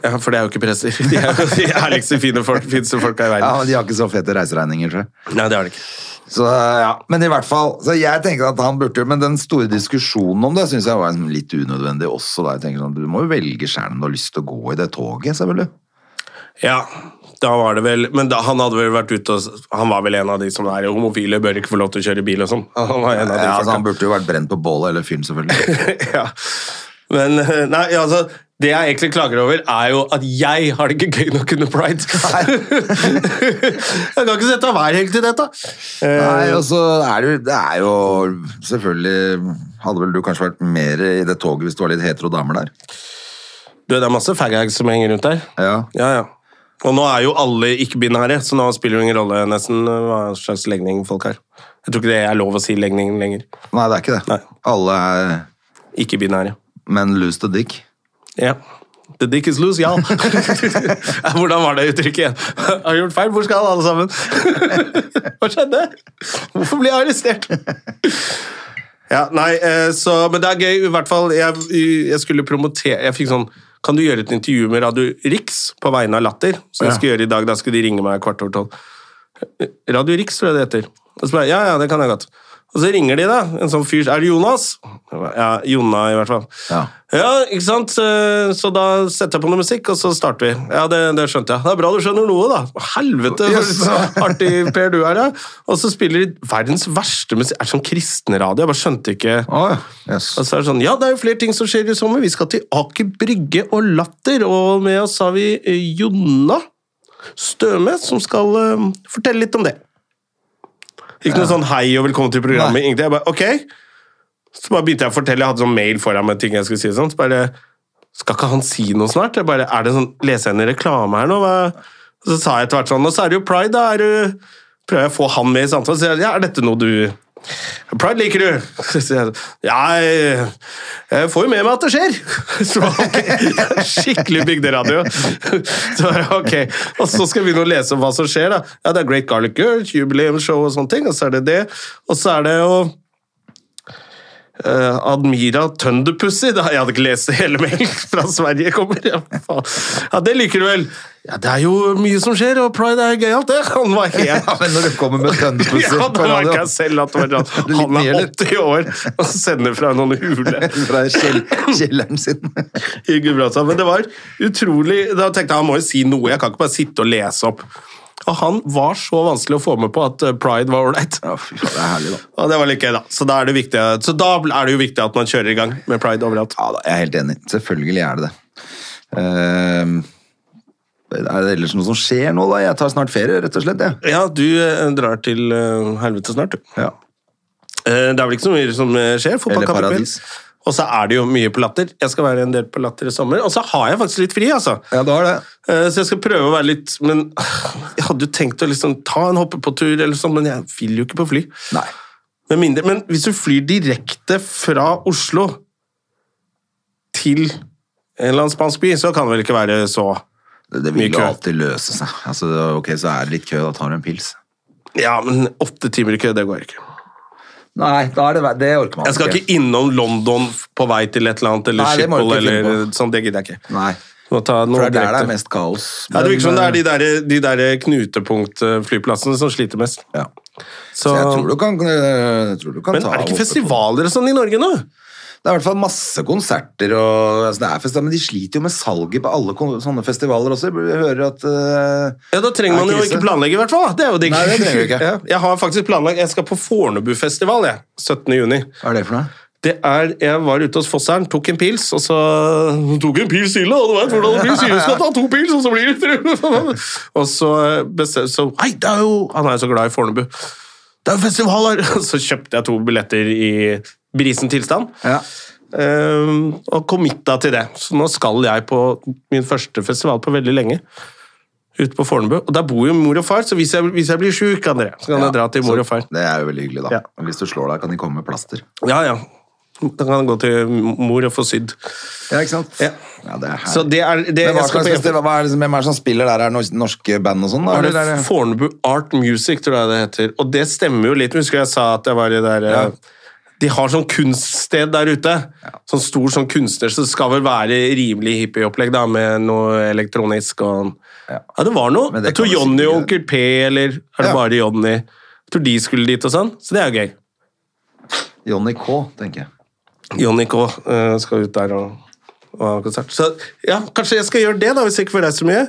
Speaker 1: ja, for det er jo ikke prester. De er jo de ærligste, fine folk, fineste folka i
Speaker 2: Ja,
Speaker 1: verden.
Speaker 2: men De har ikke så fete reiseregninger, tror jeg.
Speaker 1: Nei, det er det ikke.
Speaker 2: Så ja, men i hvert fall Så jeg tenker at han burde Men den store diskusjonen om det Synes jeg var liksom litt unødvendig også da Jeg tenker sånn, du må jo velge selv om du har lyst til å gå i det toget Selvfølgelig
Speaker 1: Ja, da var det vel Men da, han hadde vel vært ute og s- Han var vel en av de som er homofile, bør ikke få lov til å kjøre bil og sånn. Han var en av de
Speaker 2: ja, altså,
Speaker 1: folka.
Speaker 2: Han burde jo vært brent på bålet eller fyren selvfølgelig
Speaker 1: ja. Men eh, nei, altså det jeg egentlig klager over, er jo at jeg har det ikke gøy nok under pride. jeg kan ikke sette av hver helg til dette. Eh,
Speaker 2: Nei, og så er det, jo- det er jo Selvfølgelig hadde vel du kanskje vært mer i det toget Hvis du var litt hetero damer der
Speaker 1: Du, Det er masse faghags som henger rundt der.
Speaker 2: Ja,
Speaker 1: Ja, ja. Og nå er jo alle ikke-binære, så nå spiller det ingen rolle nesten eh, hva slags legning folk har. Jeg tror ikke det er lov å si legning lenger.
Speaker 2: nei det er ikke det
Speaker 1: Nei.
Speaker 2: Alle er
Speaker 1: Ikke-binære.
Speaker 2: Men loose to dick
Speaker 1: Ja. The dick is loose, ja. Hvordan var det uttrykket igjen? Har jeg gjort feil? Hvor skal alle sammen? Hva skjedde? Hvorfor ble jeg arrestert? Ja, nei, eh, så, Men det er gøy, i hvert fall. Jeg, jeg skulle promotere Jeg fikk sånn Kan du gjøre et intervju med Radio Rix på vegne av Latter? Som
Speaker 2: Ja.
Speaker 1: jeg skal gjøre i dag. Da skal de ringe meg kvart over tolv. Radio Rix, tror jeg det heter. Og så bare, ja, ja, det kan jeg godt. Og så ringer de, da. En sånn fyr Er det Jonas? Ja, Jonna, i hvert fall.
Speaker 2: Ja.
Speaker 1: Ja, ikke sant? Eh, Så da setter jeg på noe musikk, og så starter vi. Ja, det, det skjønte jeg. Det er bra du skjønner noe, da. Helvete,
Speaker 2: sånn
Speaker 1: så artig Per du er, ja. Og så spiller de verdens verste musikk. Er det sånn kristenradio? Jeg bare skjønte ikke
Speaker 2: Å, ja. Yes.
Speaker 1: og så er det sånn, ja, det er jo flere ting som skjer i sommer. Vi skal til Aker Brygge og Latter, og med oss har vi eh, Jonna Støme, som skal eh, fortelle litt om det. Ikke noe sånn hei og velkommen til programmet, ingenting. Jeg bare, ok. Så bare begynte jeg å fortelle, jeg hadde sånn mail foran meg, ting jeg skulle si og sånn, så bare, skal ikke han si noe snart? Jeg bare, er det sånn, leser jeg en reklame her nå? Hva? Så sa jeg etter hvert sånn, og så er det jo Pride, da er du, prøver jeg å få han med i samtalen, så sier jeg, ja, er dette noe du Pride liker du? Så sier jeg, ja, jeg, jeg får jo med meg at det skjer. Så bare, ok, Skikkelig bygderadio. Så bare, ok. Og så skal vi begynne å lese om hva som skjer. da. Ja, Det er Great Garlic Girl, jubileumsshow og sånne ting. Og så er det det. Og så er det jo eh, Admira Tønderpussy. da. Jeg hadde ikke lest det hele mailen fra Sverige kommer. Ja, faen. ja, det liker du vel? Ja, det er jo mye som skjer, og pride er gøyalt, det. Han var helt
Speaker 2: Ja, men når du kommer med
Speaker 1: Mm.
Speaker 2: tønderpusser
Speaker 1: ja,
Speaker 2: på
Speaker 1: da merka
Speaker 2: radio
Speaker 1: jeg selv at det var
Speaker 2: Litt
Speaker 1: sånn, han
Speaker 2: mye,
Speaker 1: er
Speaker 2: eller?
Speaker 1: 80 år og sender fra noen hule.
Speaker 2: fra kjell, kjelleren sin
Speaker 1: i Gudbrandsdal. Men det var utrolig Da tenkte jeg han må jo si noe, jeg kan ikke bare sitte og lese opp. Og han var så vanskelig å få med på at eh, pride var ålreit.
Speaker 2: Ja, fy faen, det er herlig, da.
Speaker 1: Og det var litt gøy, da. Så da, er det viktig, så da er det jo viktig at man kjører i gang med pride overalt.
Speaker 2: Ja, da, jeg er helt enig. Selvfølgelig er det det. Ehm, er det ellers noe som skjer nå, da? Jeg tar snart ferie, rett og slett. jeg.
Speaker 1: Ja, du eh, drar til eh, helvete snart, du.
Speaker 2: Ja.
Speaker 1: Eh, Det er vel ikke så mye som eh, skjer. fotball
Speaker 2: Eller
Speaker 1: kan ikke
Speaker 2: paradis.
Speaker 1: spille. Og så er det jo mye på latter. Jeg skal være en del på latter i sommer. Og så har jeg faktisk litt fri, altså.
Speaker 2: Ja, du har det.
Speaker 1: Eh, Så jeg skal prøve å være litt Men jeg hadde jo tenkt å liksom ta en hoppetur, eller sånn, men jeg vil jo ikke på fly.
Speaker 2: Nei.
Speaker 1: Med mindre, men hvis du flyr direkte fra Oslo til en eller annen spansk by, så kan det vel ikke være så
Speaker 2: Det, det
Speaker 1: Mye
Speaker 2: vil jo
Speaker 1: kø.
Speaker 2: alltid løse seg. Altså, ok, så er det litt kø, da tar du en pils.
Speaker 1: Ja, men åtte timer i kø, det går ikke.
Speaker 2: Nei, da er det, det orker man
Speaker 1: Jeg skal ikke innom London på vei til et eller annet, eller
Speaker 2: Nei, det må du
Speaker 1: Schiphol,
Speaker 2: ikke finne
Speaker 1: eller sånn. Det gidder jeg ikke.
Speaker 2: Nei,
Speaker 1: Må ta noe
Speaker 2: for det er der det er
Speaker 1: direkte.
Speaker 2: mest kaos.
Speaker 1: Ja, det virker som det er
Speaker 2: Men,
Speaker 1: de der, de der knutepunktflyplassene som sliter mest.
Speaker 2: ja.
Speaker 1: Så,
Speaker 2: Så jeg tror du kan, eh, jeg tror du kan
Speaker 1: men
Speaker 2: ta
Speaker 1: er det ikke
Speaker 2: opp-
Speaker 1: festivaler og sånn i Norge nå?
Speaker 2: Det er i hvert fall masse konserter, og, altså, det er festivaler, men de sliter jo med salget på alle kon- sånne festivaler også. Jeg hører at eh,
Speaker 1: Ja, Da trenger
Speaker 2: Er
Speaker 1: man jo
Speaker 2: krise.
Speaker 1: ikke planlegge, i hvert fall. da. Det er jo digg.
Speaker 2: Nei, det trenger vi ikke.
Speaker 1: Ja, Jeg har faktisk planlagt Jeg skal på Fornebufestival jeg, 17. juni.
Speaker 2: Hva er det for noe?
Speaker 1: Det er, jeg var ute hos Fosseren, tok en pils, og så Tok en pils ille, og du veit hvordan det blir. Sier du skal ta to pils, og så blir det tre. Og så eh, bestemte så, Hei, det er jo Han er jo så glad i Fornebu. Det er jo festival her! Og Så kjøpte jeg to billetter i brisen tilstand.
Speaker 2: Ja.
Speaker 1: Ehm, og committa til det. Så nå skal jeg på min første festival på veldig lenge. Ute på Fornebu. Og der bor jo mor og far, så hvis jeg, hvis jeg blir sjuk, André, så kan jeg dra til mor og far.
Speaker 2: Det er jo veldig hyggelig, da.
Speaker 1: Ja.
Speaker 2: Men Hvis du slår deg, kan de komme med plaster.
Speaker 1: Ja, ja. Da kan jeg gå til mor og få sydd.
Speaker 2: Ja, ikke sant?
Speaker 1: Ja.
Speaker 2: det er herlig.
Speaker 1: Så det er det
Speaker 2: Men hva
Speaker 1: jeg skal
Speaker 2: slags
Speaker 1: på-
Speaker 2: festival- hva er det, som- hvem er det som spiller der? Er det nors- norske band og sånn? da,
Speaker 1: Var
Speaker 2: eller er
Speaker 1: det
Speaker 2: det-
Speaker 1: Fornebu Art Music, tror jeg det heter. Og det stemmer jo litt. Husker jeg sa at jeg var i der eh,
Speaker 2: Ja.
Speaker 1: De har sånn kunststed der ute. Sånn stor sånn kunstner, så det skal vel være rimelig hippieopplegg da, med noe elektronisk og Ja,
Speaker 2: Ja.
Speaker 1: det var noe.
Speaker 2: Men
Speaker 1: Jeg
Speaker 2: det
Speaker 1: tror
Speaker 2: kan man
Speaker 1: Jonny
Speaker 2: sikkert gjøre.
Speaker 1: og Onkel P, eller er det
Speaker 2: Ja.
Speaker 1: bare Jonny? Jeg tror de skulle dit og sånn, så det er jo gøy.
Speaker 2: Johnny K, tenker jeg.
Speaker 1: Jonny K eh, skal ut der og, og ha konsert. Så ja, kanskje jeg skal gjøre det, da, hvis jeg ikke får reist så mye.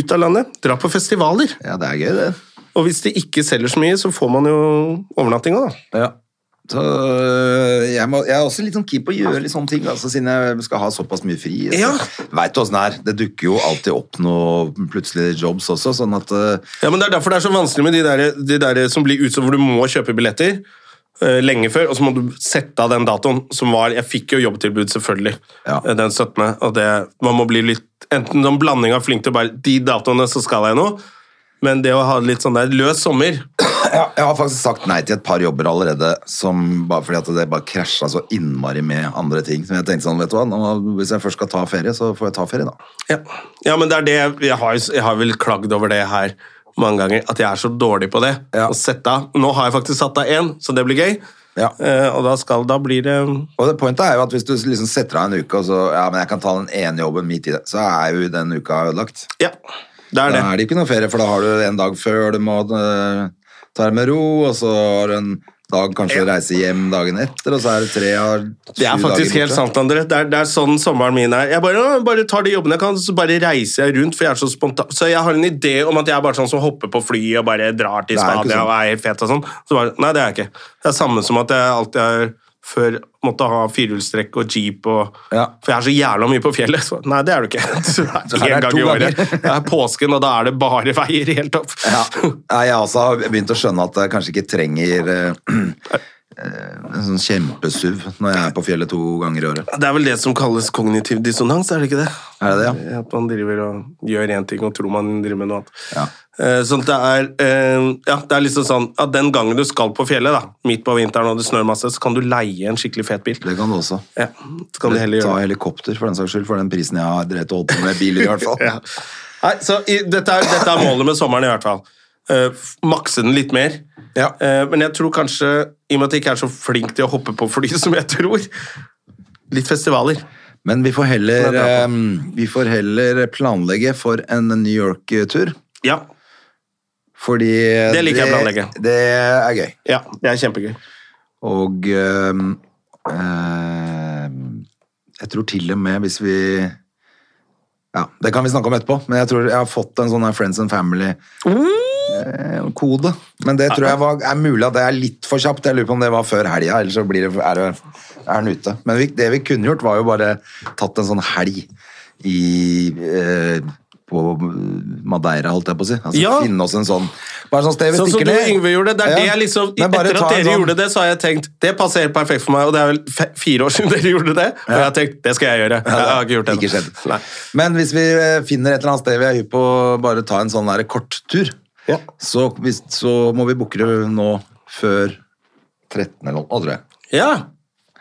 Speaker 1: Ut av landet. Dra på festivaler.
Speaker 2: Ja, det er gøy, det.
Speaker 1: Og hvis de ikke selger så mye, så får man jo overnatting òg, da.
Speaker 2: Ja. Så øh, jeg, må, jeg er også litt sånn keen på å gjøre litt sånne ting, altså, siden jeg skal ha såpass mye fri. Så.
Speaker 1: Ja.
Speaker 2: Vet du åssen det er? Det dukker jo alltid opp noe plutselig jobs også, sånn at øh,
Speaker 1: Ja, men Det er derfor det er så vanskelig med de der, de der som blir utsatt, hvor du må kjøpe billetter eh, lenge før, og så må du sette av den datoen som var Jeg fikk jo jobbtilbud, selvfølgelig,
Speaker 2: Ja.
Speaker 1: eh, den 17., og det Man må bli litt Enten en blanding av flink til å bare De datoene, så skal jeg noe, men det å ha litt sånn der løs sommer
Speaker 2: ja, Jeg har faktisk sagt nei til et par jobber allerede, som bare fordi at det bare krasja så innmari med andre ting. Så jeg tenkte sånn, vet du hva, nå, hvis jeg først skal ta ferie, så får jeg ta ferie, da.
Speaker 1: Ja, ja men det er det jeg, jeg, har, jo- jeg har vel klagd over det her mange ganger, at jeg er så dårlig på det.
Speaker 2: Ja.
Speaker 1: Å sette av. Nå har jeg faktisk satt av én, så det blir gøy.
Speaker 2: Ja.
Speaker 1: Eh, og da, skal, da blir det
Speaker 2: Og det pointet er jo at hvis du liksom setter av en uke, og så ja, men jeg kan ta den ene jobben midt i det, så er jo den uka ødelagt.
Speaker 1: Ja, det er
Speaker 2: Da
Speaker 1: det.
Speaker 2: eh, er det ikke noe ferie, for da har du en dag før du må øh, ta det med ro, og så har du en dag, kanskje reise hjem dagen etter, og så er det tre av
Speaker 1: Det er faktisk helt sant, André. Det er, det er sånn sommeren min er. Jeg bare, «Å, bare tar de jobbene jeg kan, så bare reiser jeg rundt, for jeg er så spontan. Så jeg har en idé om at jeg er bare sånn som hopper på fly og bare drar
Speaker 2: Det er
Speaker 1: til
Speaker 2: ikke
Speaker 1: Spania
Speaker 2: sånn.
Speaker 1: og er helt fet og sånn. Så bare, nei, det er jeg ikke. Det er samme som at jeg alltid har før måtte ha firehjulstrekk og jeep og
Speaker 2: Ja.
Speaker 1: For jeg er så jævla mye på fjellet. Så, nei, det er du ikke. Så
Speaker 2: Så
Speaker 1: det
Speaker 2: her
Speaker 1: er
Speaker 2: er
Speaker 1: én gang
Speaker 2: to
Speaker 1: i året.
Speaker 2: ganger.
Speaker 1: Det er påsken, og da er det bare veier helt opp.
Speaker 2: Ja. Nei, Jeg også har begynt å skjønne at jeg kanskje ikke trenger eh, eh, en sånn kjempesuv når jeg er på fjellet to ganger i året.
Speaker 1: Det er vel det som kalles kognitiv dissonans, er det ikke det?
Speaker 2: Er det det, ja?
Speaker 1: At man driver og gjør én ting og tror man driver med noe annet.
Speaker 2: Ja.
Speaker 1: Eh, Sånn at det er, eh, ja, det er liksom sånn at den gangen du skal på fjellet, da, midt på vinteren og det snør masse, så kan du leie en skikkelig fet bil.
Speaker 2: Det kan du også.
Speaker 1: Ja, så kan du heller
Speaker 2: Ta
Speaker 1: gjøre det.
Speaker 2: helikopter, for den saks skyld, for den prisen jeg har drevet og holdt på med biler, i hvert fall.
Speaker 1: Ja. Nei, så i, dette, er, dette er målet med sommeren, i hvert fall. Eh, f- makse den litt mer.
Speaker 2: Ja.
Speaker 1: Eh, men jeg tror kanskje, i og med at jeg ikke er så flink til å hoppe på fly som jeg tror Litt festivaler.
Speaker 2: Men vi får
Speaker 1: Det
Speaker 2: heller,
Speaker 1: er bra.
Speaker 2: eh, vi får heller planlegge for en New York-tur.
Speaker 1: Ja.
Speaker 2: Fordi
Speaker 1: Det liker jeg å planlegge.
Speaker 2: Det er gøy.
Speaker 1: ja det er kjempegøy.
Speaker 2: Og øhm, øhm, jeg tror til og med hvis vi Ja, det kan vi snakke om etterpå, men jeg tror jeg har fått en sånn her Friends and Family-kode. Men det tror jeg var, er mulig at det er litt for kjapt. Jeg lurer på om det var før helga, eller så blir det, er, det, er den ute. Men vi, det vi kunne gjort, var jo bare tatt en sånn helg i eh, på Madeira, holdt jeg på å si. Altså,
Speaker 1: Ja.
Speaker 2: Finne oss en sånn Bare sånn sted vi
Speaker 1: Sånn som
Speaker 2: stikker
Speaker 1: du og
Speaker 2: ned.
Speaker 1: Yngve gjorde. det er
Speaker 2: Ja.
Speaker 1: det jeg liksom,
Speaker 2: Men bare
Speaker 1: Etter at
Speaker 2: ta en
Speaker 1: dere
Speaker 2: sånn-
Speaker 1: gjorde det, så har jeg tenkt det passer helt perfekt for meg. Og det er vel fe- fire år siden dere gjorde det. Og jeg har tenkt det skal jeg gjøre. Jeg har ikke gjort det
Speaker 2: Ikke
Speaker 1: ennå.
Speaker 2: skjedd.
Speaker 1: Nei.
Speaker 2: Men hvis vi eh, finner et eller annet sted vi er hypp på å bare ta en sånn der korttur,
Speaker 1: Ja.
Speaker 2: så, hvis, så må vi booke det nå før 13 eller noe, tror jeg.
Speaker 1: Ja.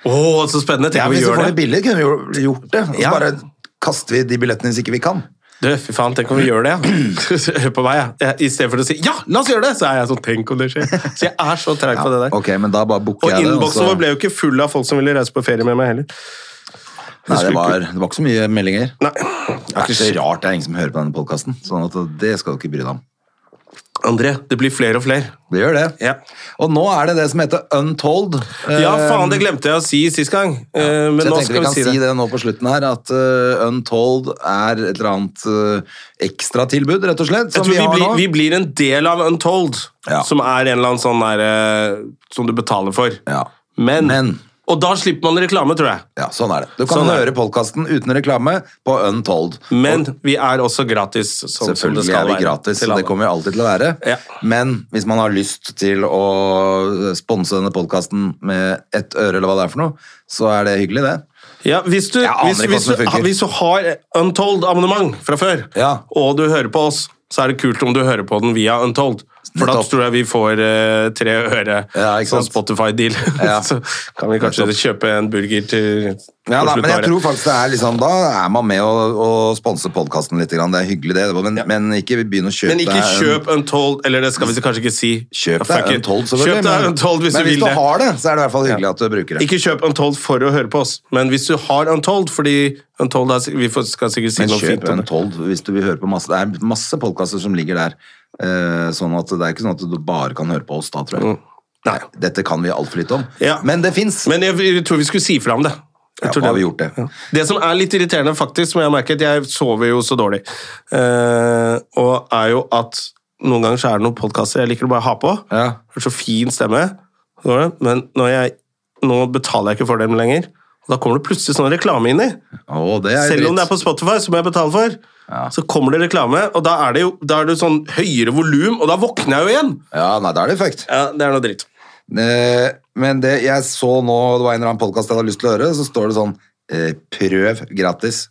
Speaker 1: Å, så spennende. Tenk
Speaker 2: Ja,
Speaker 1: om vi
Speaker 2: hvis vi
Speaker 1: gjør
Speaker 2: får det
Speaker 1: det.
Speaker 2: billig, kunne vi jo gjort det. Og så
Speaker 1: Ja.
Speaker 2: bare kaster vi de billettene hvis ikke vi kan.
Speaker 1: Du, fy faen, tenk om vi gjør det. Ja. Hør på meg, ja. I stedet for å si 'ja, la oss gjøre det', så er jeg sånn 'tenk om det skjer'. Så jeg er så treig på det der.
Speaker 2: Ok, men da bare booker
Speaker 1: Og
Speaker 2: jeg det. og
Speaker 1: innboksen
Speaker 2: så-
Speaker 1: vår ble jo ikke full av folk som ville reise på ferie med meg heller.
Speaker 2: Nei, det var, det var ikke så mye meldinger.
Speaker 1: Nei.
Speaker 2: Det er ikke så rart det er ingen som hører på denne podkasten, sånn at det skal du ikke bry deg om.
Speaker 1: André, det blir flere og flere.
Speaker 2: Det gjør det.
Speaker 1: Ja.
Speaker 2: Og nå er det det som heter Untold.
Speaker 1: Ja,
Speaker 2: Eh,
Speaker 1: faen, det glemte jeg å si sist gang. Eh, Men
Speaker 2: så jeg
Speaker 1: nå
Speaker 2: tenkte
Speaker 1: skal
Speaker 2: vi
Speaker 1: vi
Speaker 2: kan
Speaker 1: si det.
Speaker 2: nå på slutten her, at eh, Untold er et eller annet uh, ekstra tilbud, rett og slett,
Speaker 1: Jeg
Speaker 2: som
Speaker 1: tror
Speaker 2: vi
Speaker 1: vi,
Speaker 2: har
Speaker 1: blir,
Speaker 2: nå.
Speaker 1: vi blir en del av Untold,
Speaker 2: Ja.
Speaker 1: som er en eller annen sånn der, eh, som du betaler for.
Speaker 2: Ja.
Speaker 1: Men,
Speaker 2: Men-
Speaker 1: Og da slipper man reklame, tror jeg.
Speaker 2: Ja, sånn er det. Du kan
Speaker 1: Sånn er
Speaker 2: høre podkasten uten reklame på Untold.
Speaker 1: Men vi er også gratis. Sånn som det
Speaker 2: Selvfølgelig
Speaker 1: skal
Speaker 2: er vi
Speaker 1: være
Speaker 2: gratis,
Speaker 1: til
Speaker 2: så
Speaker 1: alle.
Speaker 2: det kommer vi alltid til å være.
Speaker 1: Ja.
Speaker 2: Men hvis man har lyst til å eh, sponse denne podkasten med ett øre, eller hva det er for noe, så er det hyggelig, det.
Speaker 1: Ja, hvis, du,
Speaker 2: Jeg aner
Speaker 1: hvis,
Speaker 2: ikke hvordan
Speaker 1: hvis,
Speaker 2: det
Speaker 1: du,
Speaker 2: funker.
Speaker 1: hvis du har Untold-abonnement fra før,
Speaker 2: Ja.
Speaker 1: og du hører på oss, så er det kult om du hører på den via Untold. For da
Speaker 2: Nettopp.
Speaker 1: tror jeg vi får eh, tre øre
Speaker 2: Ja, ikke
Speaker 1: sånn
Speaker 2: sant?
Speaker 1: Spotify-deal.
Speaker 2: Ja.
Speaker 1: så kan vi kanskje kjøpe en burger til
Speaker 2: Ja,
Speaker 1: på
Speaker 2: da,
Speaker 1: slutten
Speaker 2: men
Speaker 1: av
Speaker 2: jeg
Speaker 1: året.
Speaker 2: tror faktisk det er liksom, Da er man med å, å sponse podkasten litt. Grann. Det er hyggelig, det. Men, men ikke begynn å kjøpe
Speaker 1: Men ikke
Speaker 2: deg en-
Speaker 1: kjøp Untold, eller det skal vi kanskje ikke si.
Speaker 2: Kjøp
Speaker 1: Fuck
Speaker 2: deg
Speaker 1: it.
Speaker 2: en told, selvfølgelig.
Speaker 1: Kjøp deg
Speaker 2: men-
Speaker 1: Untold hvis
Speaker 2: men
Speaker 1: du vil det.
Speaker 2: hvis du har det, så er det i hvert fall hyggelig at du bruker det.
Speaker 1: Ikke kjøp Untold for å høre på oss, men hvis du har Untold, fordi Untold er, vi får, skal sikkert si
Speaker 2: men
Speaker 1: noe
Speaker 2: kjøp
Speaker 1: fint om
Speaker 2: en
Speaker 1: det.
Speaker 2: told hvis du vil høre på masse. Det er masse podkaster som ligger der. eh, Sånn at det er ikke sånn at du bare kan høre på oss da, tror jeg.
Speaker 1: Nei.
Speaker 2: Dette kan vi altfor lite om.
Speaker 1: Ja.
Speaker 2: Mm. Men det fins!
Speaker 1: Men jeg, jeg tror vi skulle si fra om det. Jeg
Speaker 2: Ja,
Speaker 1: tror
Speaker 2: nå har vi gjort det.
Speaker 1: Ja. Det som er litt irriterende, faktisk, som jeg har merket Jeg sover jo så dårlig. Eh, og er jo at noen ganger så er det noen podkaster jeg liker å bare ha på.
Speaker 2: Ja.
Speaker 1: Det er så fin stemme. så er det, Men når jeg, nå betaler jeg ikke for dem lenger. Og da kommer det plutselig sånn reklame inni.
Speaker 2: Å, det er
Speaker 1: Selv om det
Speaker 2: dritt.
Speaker 1: er på Spotify, som jeg betaler for, så kommer det reklame, og da er det jo da er det sånn høyere volum, og da våkner jeg jo igjen!
Speaker 2: Ja, nei, da er det fucked.
Speaker 1: Ja, Det er noe dritt.
Speaker 2: Eh, Men det jeg så nå, det var en eller annen podkast jeg hadde lyst til å høre, så står det sånn eh, Prøv gratis.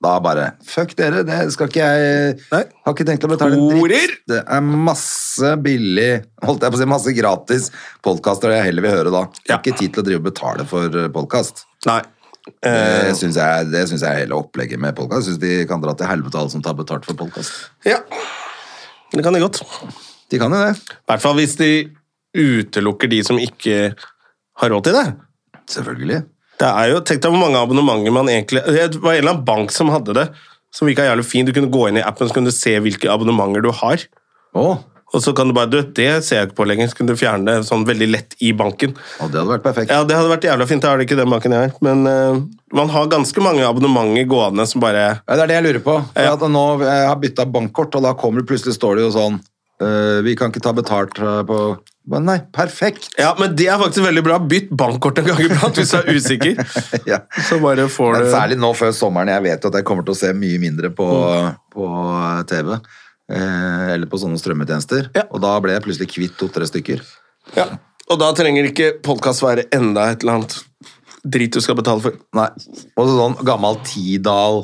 Speaker 2: Da bare Fuck dere, det skal ikke jeg
Speaker 1: Nei.
Speaker 2: Har ikke tenkt å betale en dritt.
Speaker 1: Horer!
Speaker 2: Det er masse billig, holdt jeg på å si, masse gratis podkaster jeg heller vil høre da. Jeg har
Speaker 1: Ja.
Speaker 2: ikke tid til å drive og betale for podkast.
Speaker 1: Nei. Eh,
Speaker 2: Det syns jeg, det synes jeg er hele opplegget med podkast. Syns de kan dra til helvete alle som tar betalt for podkast.
Speaker 1: ja. Det kan det godt. I
Speaker 2: De kan jo det.
Speaker 1: hvert fall hvis de utelukker de som ikke har råd til det.
Speaker 2: Selvfølgelig.
Speaker 1: Det er jo, Tenk deg hvor mange abonnementer man egentlig Det var en eller annen bank som hadde det, som virka jævlig fin. Du kunne gå inn i appen så kunne du se hvilke abonnementer du har.
Speaker 2: Å,
Speaker 1: Og så kan du bare Du, det ser jeg ikke på lenger. Så kan du fjerne det sånn veldig lett i banken.
Speaker 2: Og det hadde vært perfekt.
Speaker 1: Ja, det hadde vært jævla fint. Jeg har det ikke i den banken jeg har. Men eh, man har ganske mange abonnementer gående som bare
Speaker 2: Ja, Det er det jeg lurer på. For at nå eh, jeg har bytta bankkort, og da kommer det plutselig står det jo sånn eh, Vi kan ikke ta betalt eh, på Men nei, perfekt!
Speaker 1: Ja, men det er faktisk veldig bra. Bytt bankkort en gang iblant hvis du er usikker.
Speaker 2: Ja.
Speaker 1: Så bare får
Speaker 2: Men
Speaker 1: du
Speaker 2: særlig nå før sommeren. Jeg vet jo at jeg kommer til å se mye mindre på, på TV. eh, Eller på sånne strømmetjenester.
Speaker 1: Ja.
Speaker 2: Og da ble jeg plutselig kvitt to-tre stykker.
Speaker 1: Ja. Og da trenger ikke podkast være enda et eller annet drit du skal betale for.
Speaker 2: Nei. Og så sånn gammel Tidal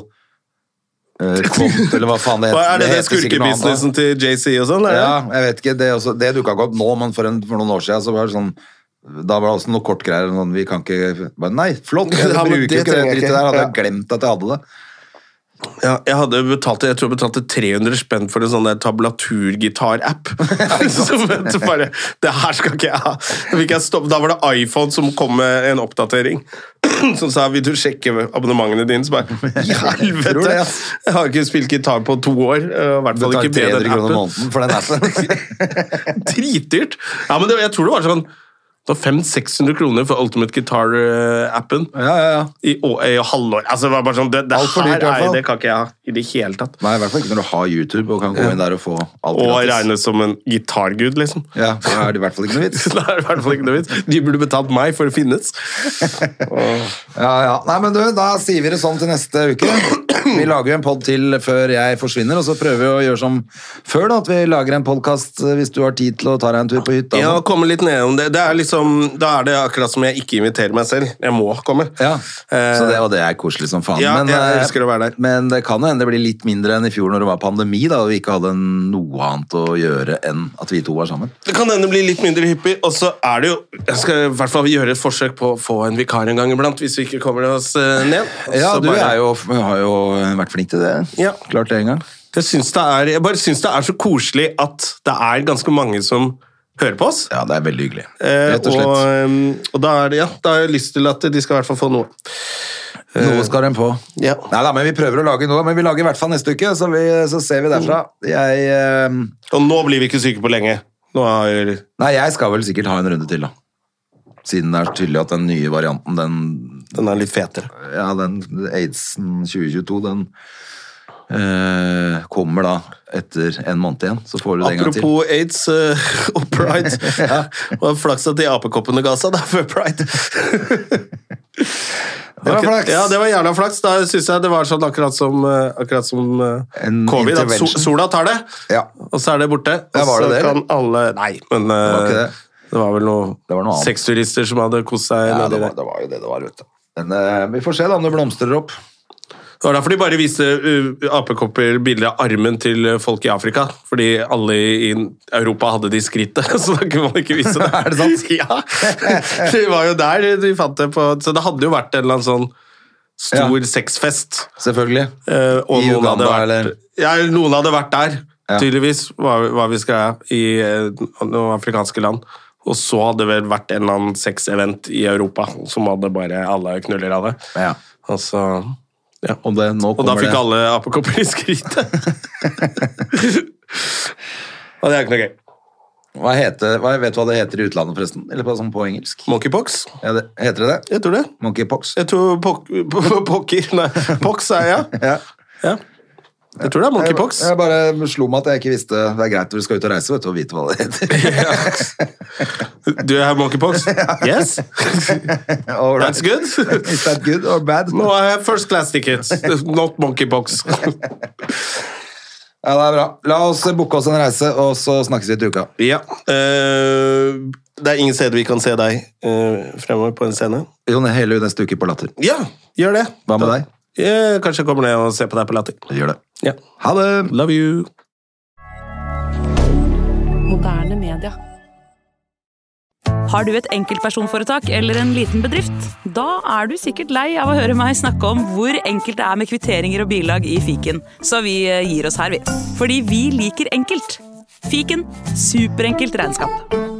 Speaker 2: eh, Kont, eller hva faen det heter.
Speaker 1: Hva er det, det,
Speaker 2: heter sikkert noe annet da.
Speaker 1: skurkebusinessen til JC og sånn? er det?
Speaker 2: Ja, jeg vet ikke. Det, er også, det dukka ikke opp nå, men for, en, for noen år siden så var det sånn da var det også noe kortgreier. Sånn, vi kan ikke bare, Nei, flott! Jeg
Speaker 1: Ja, men
Speaker 2: bruker
Speaker 1: det
Speaker 2: ikke det
Speaker 1: trenger jeg
Speaker 2: drittet
Speaker 1: ikke.
Speaker 2: der. Hadde jeg
Speaker 1: Ja.
Speaker 2: glemt at jeg hadde det.
Speaker 1: Ja, jeg, hadde betalt, jeg tror jeg betalte 300 spenn for en sånn der tablaturgitar-app. Som vet du bare Det her skal ikke jeg ha. Da, fikk jeg stopp, da var det iPhone som kom med en oppdatering. Som sa 'vil du sjekke abonnementene dine'? Så bare I
Speaker 2: Tror
Speaker 1: helvete!
Speaker 2: det, ass.
Speaker 1: Jeg har ikke spilt gitar på to år. eh, I hvert
Speaker 2: Du
Speaker 1: fall
Speaker 2: tar
Speaker 1: ikke
Speaker 2: 300
Speaker 1: med den
Speaker 2: kroner
Speaker 1: appen.
Speaker 2: måneden altså. for den appen.
Speaker 1: Dritdyrt! Ja, men det, jeg tror det var sånn det var 500-600 kroner for Ultimate eh, Guitar-appen
Speaker 2: ja, ja, ja.
Speaker 1: i, å- i halvår. Altså, det var bare sånn, det, det
Speaker 2: Alt for dyrt,
Speaker 1: her
Speaker 2: i hvert
Speaker 1: er,
Speaker 2: fall.
Speaker 1: det kan ikke jeg ha i det hele tatt.
Speaker 2: Nei, i hvert fall ikke når du har YouTube og kan gå inn der og få alt
Speaker 1: Og
Speaker 2: gratis.
Speaker 1: regnes som en gitargud, liksom.
Speaker 2: Ja, da er det i hvert fall ikke noe vits.
Speaker 1: Så det er i hvert fall ikke noe vits. De burde betalt meg for å finnes.
Speaker 2: Ja, ja. Nei, men du, da sier vi det sånn til neste uke. Vi lager jo en pod til før jeg forsvinner, og så prøver vi å gjøre som før, da, at vi lager en podkast hvis du har tid til å ta deg en tur på hytta.
Speaker 1: Ja, komme litt nedom det. det er liksom, da er det akkurat som jeg ikke inviterer meg selv. Jeg må komme.
Speaker 2: Ja,
Speaker 1: Eh,
Speaker 2: så det, og det er koselig som faen.
Speaker 1: ja, jeg
Speaker 2: eh,
Speaker 1: elsker å være der.
Speaker 2: Men det kan jo hende det blir litt mindre enn i fjor når det var pandemi, da, og vi ikke hadde noe annet å gjøre enn at vi to var sammen.
Speaker 1: Det kan hende bli litt mindre hyppig, og så er det jo Jeg skal i hvert fall gjøre et forsøk på å få en vikar en gang iblant, hvis vi ikke kommer oss eh, ned.
Speaker 2: Ja,
Speaker 1: Så
Speaker 2: du
Speaker 1: bare-
Speaker 2: er jo, har jo vært flink til det.
Speaker 1: Ja.
Speaker 2: Klart det en gang.
Speaker 1: jeg, syns det er, jeg bare syns det er så koselig at det er ganske mange som hører på oss.
Speaker 2: Ja, det er veldig hyggelig.
Speaker 1: Eh,
Speaker 2: Rett og slett.
Speaker 1: ehm, og da, er det, ja, da har jeg lyst til at de skal i hvert fall få noe.
Speaker 2: Noe skal den på.
Speaker 1: eh, Ja.
Speaker 2: Nei da, men vi prøver å lage noe. Men vi lager i hvert fall neste uke, så, vi, så ser vi derfra. Jeg, eh,
Speaker 1: Og nå blir vi ikke syke på lenge. Nå er,
Speaker 2: nei, jeg skal vel sikkert ha en runde til, da. Siden det er tydelig at den nye varianten, den,
Speaker 1: den er litt fetere.
Speaker 2: ja, den aidsen 2022, den eh, kommer da etter en måned igjen. Så får du det en gang til.
Speaker 1: Apropos aids eh, og pride. Det var flaks at de apekoppene ga seg da før pride.
Speaker 2: Det var flaks!
Speaker 1: Ja, det var jævla flaks. Da syns jeg det var sånn akkurat som, eh, akkurat som eh,
Speaker 2: En
Speaker 1: covid. At
Speaker 2: intervention.
Speaker 1: sol- sola tar det,
Speaker 2: Ja.
Speaker 1: og så er det borte. Og
Speaker 2: Ja, var det
Speaker 1: så
Speaker 2: det,
Speaker 1: kan alle Nei, men eh,
Speaker 2: var ikke det.
Speaker 1: det var vel noen
Speaker 2: Det var noe annet.
Speaker 1: sexturister som hadde kost seg.
Speaker 2: Ja,
Speaker 1: nedi
Speaker 2: det,
Speaker 1: der.
Speaker 2: var, det var jo det det var, vet du. Men eh, vi får se da om det blomstrer opp.
Speaker 1: Det var derfor de bare viste uh, apekopper bilder av armen til uh, folk i Afrika. Fordi alle i Europa hadde de skrittet, så da kunne man ikke vise det.
Speaker 2: Er det sant?
Speaker 1: Ja. De var jo der de fant det på Så det hadde jo vært en eller annen sånn stor
Speaker 2: Ja.
Speaker 1: sexfest.
Speaker 2: Selvfølgelig.
Speaker 1: eh, og
Speaker 2: I
Speaker 1: noen
Speaker 2: Uganda,
Speaker 1: hadde vært,
Speaker 2: eller?
Speaker 1: Ja, noen hadde vært der,
Speaker 2: Ja.
Speaker 1: tydeligvis, hva, hva vi skal ha i eh, noen afrikanske land. Og så hadde det vel vært en eller annen sexevent i Europa som hadde bare alle knuller av det.
Speaker 2: Ja.
Speaker 1: Og så
Speaker 2: Og, det, nå
Speaker 1: og da
Speaker 2: kommer
Speaker 1: fikk
Speaker 2: det.
Speaker 1: alle apekopper i skrittet. og det er ikke noe gøy.
Speaker 2: Hva heter, hva, vet du hva det heter i utlandet, forresten? Eller på, sånn på engelsk?
Speaker 1: Monkeypox?
Speaker 2: Ja, det, heter det det?
Speaker 1: Jeg tror det.
Speaker 2: Monkeypox?
Speaker 1: Jeg tror pok pokker Nei, pox er jeg.
Speaker 2: Ja.
Speaker 1: Ja. Jeg tror det er monkeypox.
Speaker 2: Jeg, jeg bare slo meg at jeg ikke visste Det er greit når du skal ut og reise, vet du, å vite hva det heter.
Speaker 1: Du er monkeypox? Yes?
Speaker 2: All right.
Speaker 1: That's good.
Speaker 2: Is that good or bad?
Speaker 1: Nå har jeg first class tickets, not monkeypox.
Speaker 2: Ja, det er bra. La oss booke oss en reise, og så snakkes vi til uka.
Speaker 1: Ja. eh, det er ingen steder vi kan se deg eh, fremover på en scene.
Speaker 2: Jon, hele neste uke på Latter.
Speaker 1: Ja, gjør det.
Speaker 2: Hva med
Speaker 1: Da-
Speaker 2: deg?
Speaker 1: Eh, kanskje jeg kommer ned og ser på deg på Latter.
Speaker 2: Vi gjør det.
Speaker 1: Ja.
Speaker 2: Ha det!
Speaker 1: Love you.
Speaker 3: Moderne media.
Speaker 4: Har du et enkeltpersonforetak eller en liten bedrift? Da er du sikkert lei av å høre meg snakke om hvor enkelt det er med kvitteringer og bilag i fiken, så vi eh, gir oss her, vi. Fordi vi liker enkelt. Fiken superenkelt regnskap.